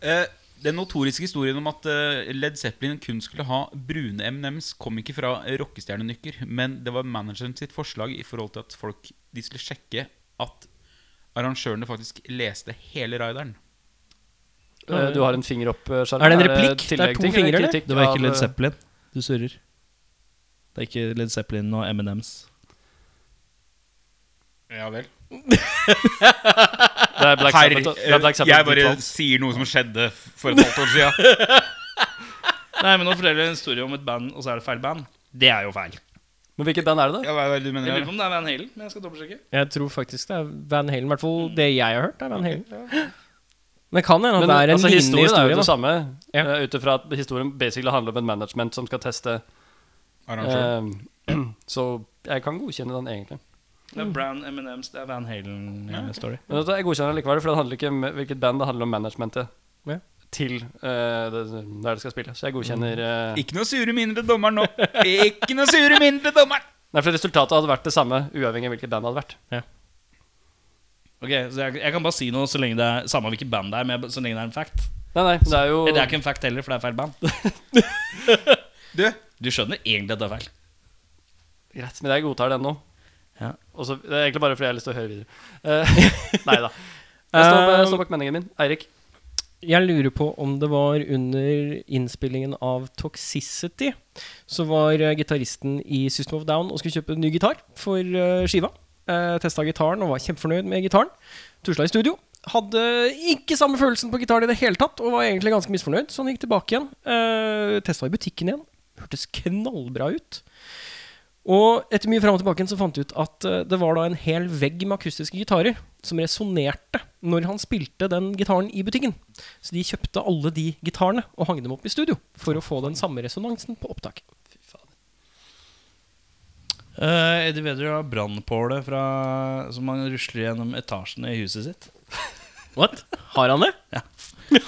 D: Eh, Den notoriske historien om at eh, Led Zeppelin kun skulle ha brune M&M's, kom ikke fra rockestjernenykker, men det var manageren sitt forslag i forhold til at folk de skulle sjekke at arrangørene faktisk leste hele rideren.
C: Eh, Du har en finger opp, eh, Sjarm.
A: Er det en replikk? Det er
C: tillegg
A: to
C: ting, eller
A: fingre, eller?
C: kritikk
B: Det var
C: av,
B: ikke Led
C: eh,
B: Zeppelin. Du surrer. Det er ikke Led Zeppelin og M&M's.
D: Ja vel.
C: eh, Det er Black
D: Herr,
C: Sabbath. og- Det er Black
D: eh,
C: Sabbath
D: jeg
C: og
D: bare
C: Beatles.
D: sier noe som skjedde for et halvt år siden.
B: Nei, men nå forteller jeg en historie om et band, og så er det feil band. Det er jo feil.
C: Men hvilket band er det, da?
D: Ja, hva er det du
B: Jeg lurer
D: mener?
B: på om det er Van Halen, men jeg skal dobbeltsjekke.
A: Jeg tror faktisk det er Van Halen. I hvert fall det jeg har hørt, er Van Halen. Men det kan hende at
C: Men
A: det er en
C: altså,
A: lignende
C: historien er jo
A: historie.
C: det
A: da.
C: samme,
A: Ja.
C: eh, ut ifra at historien basically handler om en management som skal teste.
D: Arrangør.
C: Eh, så jeg kan godkjenne den, egentlig.
B: Det er Brown M&M's, det er Van eh, Halen-story.
C: Men vet du, jeg godkjenner den likevel, for det handler ikke om hvilket band, det handler om managementet
A: Ja.
C: til eh, det, der det skal spille. Så jeg godkjenner
A: Mm.
C: eh,
D: Ikke noe sure minner til dommeren nå. Ikke noe sure minner til dommeren.
C: Nei, for resultatet hadde vært det samme, uavhengig av hvilket band det hadde vært.
B: Ok, så jeg, jeg kan bare si noe så lenge det er samme hvilket band det er, men jeg- så lenge det er en fact.
C: Nei, nei, det er jo
B: Eller det er ikke en fact heller, for det er feil band.
D: Du,
B: Du skjønner egentlig at det er feil.
C: greit, men jeg godtar den nå.
B: Ja.
C: Og så- det er egentlig bare fordi jeg har lyst til å høre videre. Eh, nei da. Jeg står, bak- jeg står bak meningen min. Eirik.
A: Jeg lurer på om det var under innspillingen av Toxicity, så var eh, gitaristen i System of Down og skulle kjøpe ny gitar for eh, skiva. Uh, Testa gitaren og var kjempefornøyd med gitaren. Tusla i studio. Hadde ikke samme følelsen på gitar i det hele tatt, og var egentlig ganske misfornøyd, så han gikk tilbake igjen. Uh, Testa i butikken igjen. Hørtes knallbra ut. Og etter mye fram og tilbake så fant jeg ut at eh, det var da en hel vegg med akustiske gitarer som resonnerte når han spilte den gitaren i butikken. Så de kjøpte alle de gitarene og hang dem opp i studio for å få den samme resonansen på opptak.
B: Eh, Eddie Vedder har brannpåle fra- som han rusler gjennom etasjene i huset sitt.
A: What? Har han det?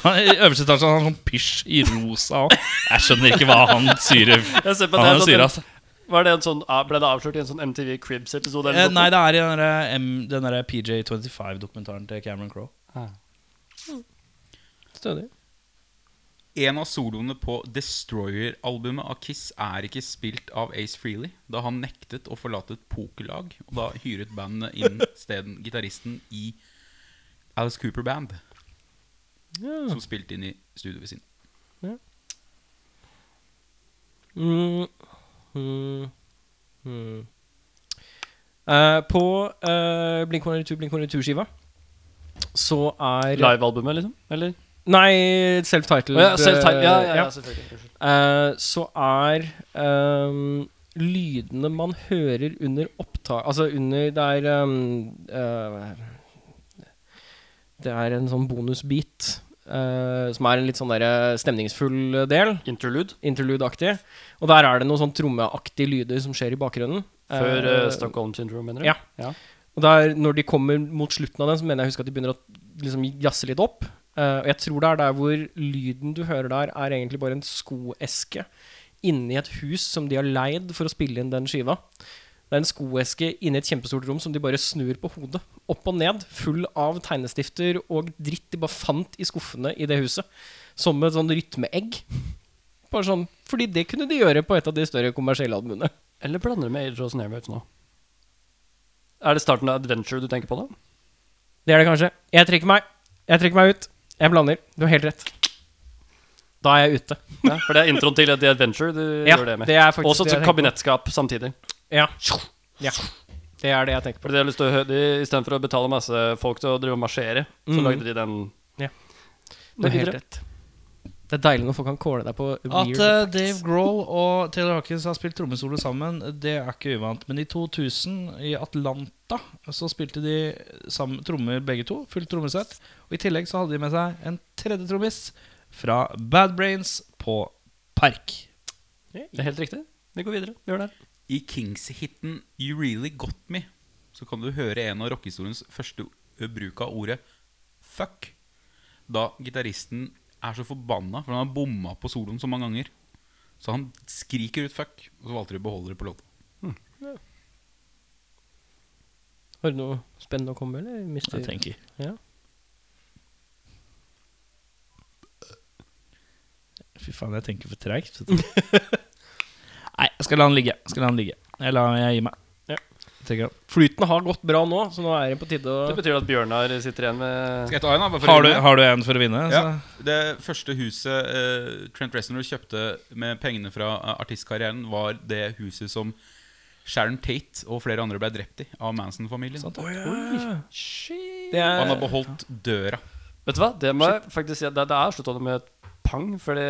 B: Han, I øverste etasje har han sånn pysj i rosa òg. Jeg skjønner ikke hva han syrer.
C: Jeg ser på
B: Han er
C: det,
B: syrer,
C: sånn-
B: altså.
C: Var det en sånn, ah, ble det avslørt i en sånn MTV Cribs-episode? eller
B: Eh,
C: noe
B: nei, det er i den der, eh, M- den der PJ25-dokumentaren til Cameron Crowe.
A: Stødig.
D: En av soloene på Destroyer-albumet av Kiss er ikke spilt av Ace Freely, da han nektet å forlate et pokerlag, og da hyret bandet inn steden gitaristen i Alice Cooper Band, som spilte inn i studioet ved siden.
A: Mm. Mm. Mm. Eh, på uh, Blink 182, Blink 182-skiva så er
C: Livealbumet, liksom? Eller?
A: Nei, self-titled.
C: Å ja, self-type. Ja, ja,
A: eh,
C: ja, selvfølgelig. Unnskyld.
A: Eh, så er ehm, lydene man hører under opptak Altså under Det er ehm, eh, Det er en sånn bonusbit. eh, som er en litt sånn der stemningsfull del.
C: Interlude
A: Interlude-aktig. Og der er det noen sånn trommeaktige lyder som skjer i bakgrunnen.
C: før
A: Eh,
C: eh, Stockholm Syndrome, mener du?
A: ja. Og der, når de kommer mot slutten av den, så mener jeg å huske at de begynner å liksom, jazze litt opp. Eh, og jeg tror det er der hvor lyden du hører der, er egentlig bare en skoeske inni et hus som de har leid for å spille inn den skiva. Det er en skoeske inni et kjempestort rom som de bare snur på hodet. Opp og ned, full av tegnestifter og dritt de bare fant i skuffene i det huset. Som et sånn rytmeegg. Bare sånn, fordi det kunne de gjøre på et av de større kommersielle albumene.
C: Eller blander du med Age of Snarewaves nå? Er det starten av Adventure du tenker på da?
A: Det er det kanskje. Jeg trekker meg. Jeg trekker meg ut. Jeg blander. Du har helt rett. Da er jeg ute.
C: Ja, for det er introen til The Adventure du
A: Ja,
C: gjør det med.
A: det er faktisk
C: Også
A: det
C: til
A: jeg tenker
C: kabinettskap samtidig.
A: Ja. ja. Det er det jeg tenker på.
C: For de har lyst til å hø- de, Istedenfor å betale masse folk til å drive og marsjere, så
A: Mhm.
C: lagde de den.
A: Ja. Du
C: Det
A: har helt rett. Det er deilig når folk kan calle deg på
B: At
A: weird
B: eh, Dave Grohl og Taylor Hawkins har spilt trommesolo sammen, det er ikke uvant. Men i 2000, i Atlanta, så spilte de sammen, trommer begge to. Fullt trommesett. Og i tillegg så hadde de med seg en tredje trommis fra Bad Brains på Park.
C: Det er helt riktig. Vi går videre. Vi gjør det.
D: I Kings-hiten You Really Got Me så kan du høre en av rockehistoriens første ø, bruk av ordet fuck. Da gitaristen er så forbanna, for han har bomma på soloen så mange ganger. Så han skriker ut fuck, og så valgte de å beholde det på låta.
A: Har du noe spennende å komme med, eller? mister-
J: Jeg tenker
A: Ja.
J: Fy faen, jeg tenker for tregt. Nei, jeg skal la den ligge. Jeg Skal la den ligge. Jeg lar jeg gir meg.
A: Ja.
J: Tenker jeg.
A: Flyten har gått bra nå, så nå er det på tide å
C: Det betyr at Bjørnar sitter igjen med
D: Skal jeg ta en, da? bare for å
J: Har, du,
D: runde?
J: har du en for å vinne?
D: Ja, Det første huset eh, Trent Reznor kjøpte med pengene fra eh, artistkarrieren, var det huset som Sharon Tate og flere andre ble drept i av Manson-familien. Og
A: Det
D: Han
A: er
D: har beholdt døra.
C: Vet du hva, det må jeg faktisk si at det, det er slutta med et pang, fordi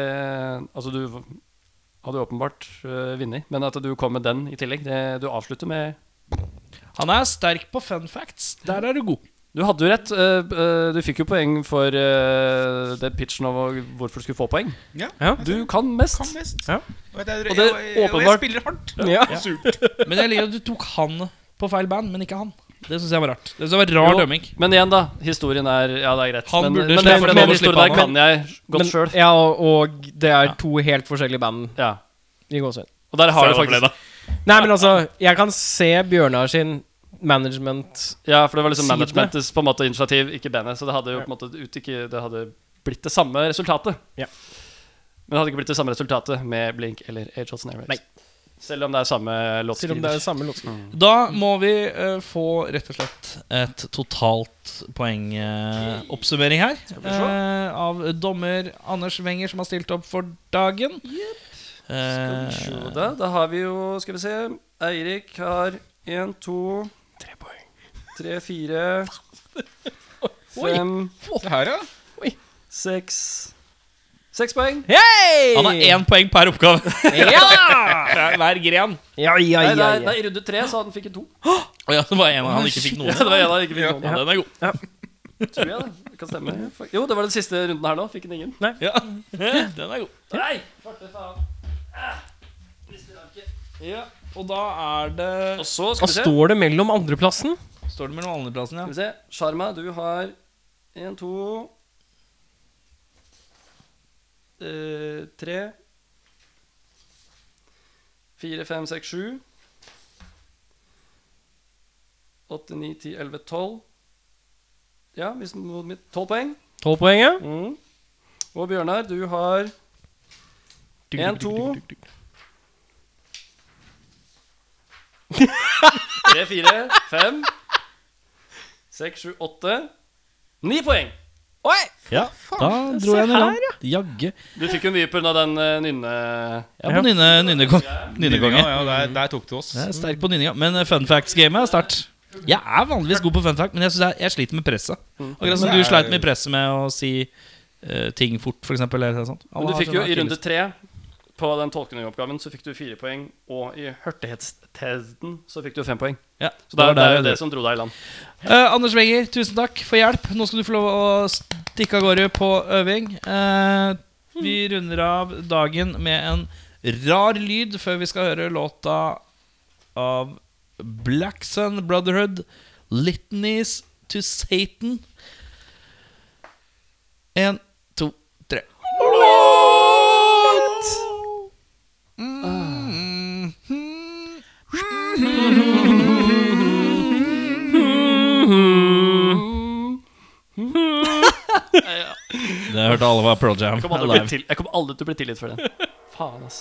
C: Altså, du v- hadde jo åpenbart øh, vunnet, men at du kom med den i tillegg det, Du avslutter med
B: Han er sterk på fun facts. Der er du god.
C: Du hadde jo rett. øh, øh, du fikk jo poeng for øh, det pitchen av hvorfor du skulle få poeng.
D: Ja.
C: Du kan mest.
D: Kan mest.
A: Ja.
D: Og, jeg, jeg,
C: Og
D: jeg,
C: det
D: jeg, jeg,
C: åpenbart-
D: spiller hardt.
A: ja.
B: Men jeg liker at du tok han på feil band, men ikke han. Det syns jeg var rart. Det synes jeg var rar
C: Jo,
B: dømming.
C: Men igjen, da. Historien er Ja, det er greit.
B: Han
C: men,
B: burde
C: men,
B: slippe-
C: for
A: men-
C: den
A: men-
C: historien der kan jeg godt
A: Men-
C: sjøl.
A: Ja, og- og det er to helt forskjellige band
C: Ja.
A: i gåsehud.
C: Og der har du faktisk
A: Nei, men altså, jeg kan se Bjørnar sin management
C: Ja, for det var liksom
A: Side.
C: managementets på en måte initiativ, ikke bandet. Så det hadde jo på en måte ut, ikke, det hadde blitt det samme resultatet.
A: Ja.
C: Men det hadde ikke blitt det samme resultatet med Blink eller Age of Snare
A: Nei.
C: Selv om det er samme
A: Selv om det er
C: låtskriver.
A: samme låtskriver.
B: Da må vi eh, få rett og slett et totalt poengoppsummering her. eh, av dommer Anders Wenger, som har stilt opp for dagen. Eh,
C: Skal vi se det. Da har vi jo Skal vi se. Eirik har én, to Tre poeng. Tre, fire Fem,
D: Det her, ja.
C: seks Seks poeng.
A: Hei!
B: han har én poeng per oppgave.
A: Ja!
B: Fra Hver gren.
A: Ja, ja,
C: Nei, det
A: ja,
C: er, det
A: ja.
C: er i runde tre, så han fikk en to.
B: Å ja, det var en han ikke fikk noen.
C: det var en han ikke fikk noen.
B: Ja, den er god.
C: Tror jeg det. det kan stemme. Jo, det var den siste runden her nå. Fikk den ingen.
B: Den er god.
C: Nei! Svarte faen. Ah.
B: Ja, og da er det
C: Og så
A: Hva
C: skal vi se.
A: står det mellom andreplassen?
B: Står det mellom andreplassen, ja.
C: Skal vi se. Sharma, du har én, to eh, Tre Fire, fem, seks, sju. Åtte, ni, ti, elleve, tolv. Ja, hvis noen mitt Tolv poeng.
A: Tolv poeng, ja.
C: Mm. Og Bjørnar, du har én, to Tre, fire, fem, seks, sju, åtte. Ni poeng!
J: Ja, da dro jeg den i land. Jagge.
C: Du fikk jo mye pga. den uh, nynne...
J: Ja, på nynne, nynnekonge.
D: Ja,
J: Nynnekonge.
D: ja, der, der tok du oss.
J: Jeg er sterk på nynninga. Men eh, fun facts-gamet er sterkt. Jeg er vanligvis god på fun fact, men jeg, synes jeg, jeg sliter med presset. Akkurat
C: Mm.
J: som du
D: Det er-
J: sleit med presset med å si eh, ting fort, f.eks. Eller noe sånt.
C: Men
J: Alle
C: du
J: har sånn
C: fikk jo
J: sånne
C: i runde tre på den tolkningoppgaven så fikk du fire poeng, og i hørtighetstesten så fikk du fem poeng.
J: Ja,
C: Så det er
J: var
C: det, er jo
J: jeg
C: det
J: dro.
C: som dro deg i land.
B: Eh, Anders Wenger, tusen takk for hjelp. Nå skal du få lov å stikke av gårde på øving. Eh, vi runder av dagen med en rar lyd før vi skal høre låta av Black Sun Brotherhood, Litanies to Satan. En, to, tre. Det hørte alle var Pearl Jam.
C: Jeg kommer aldri, bli til, jeg kommer aldri til å bli tilgitt for den. Faen, ass.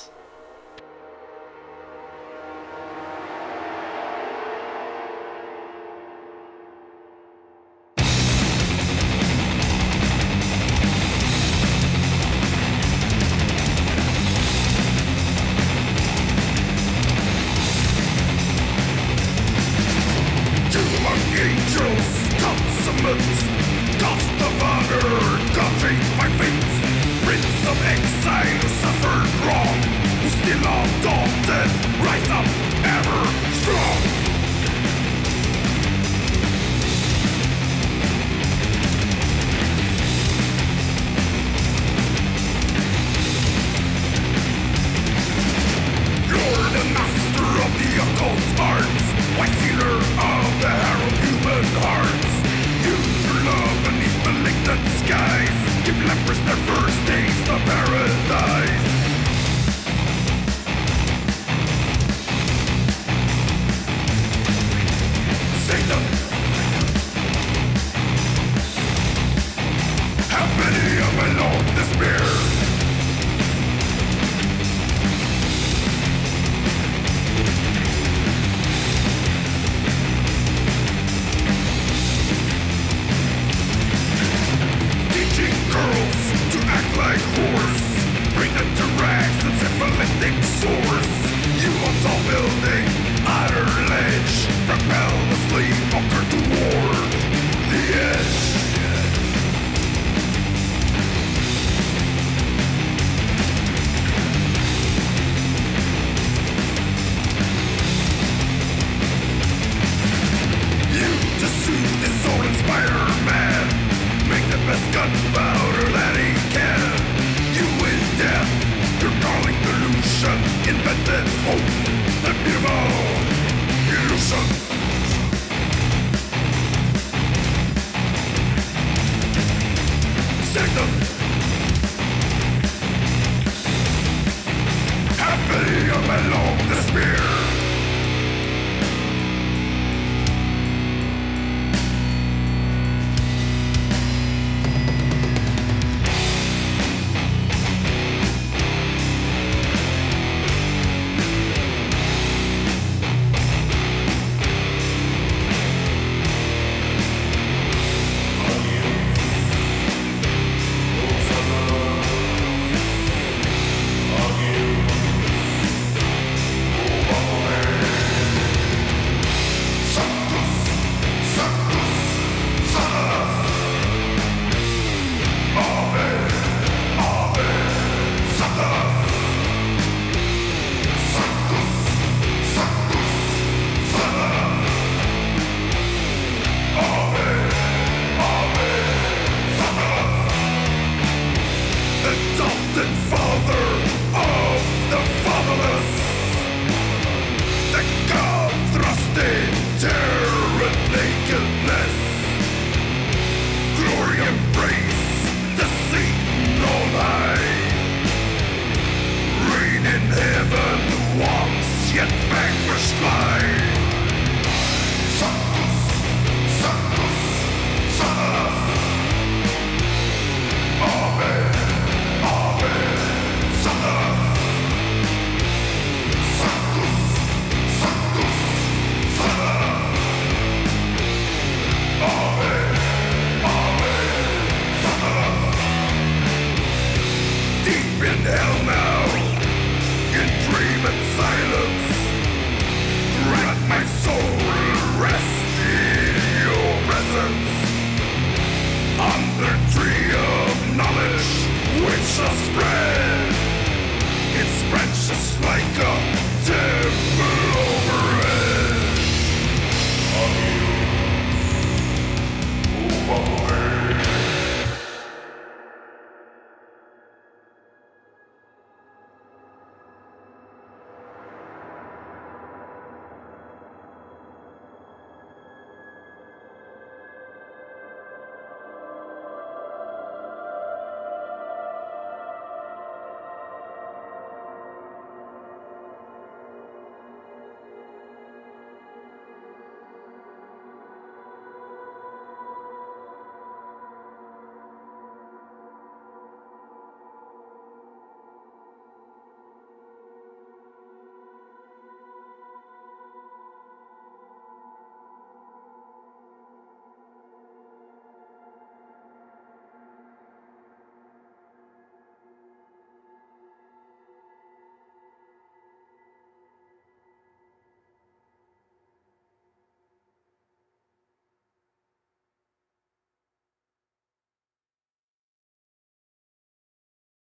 F: Invented hope, the beautiful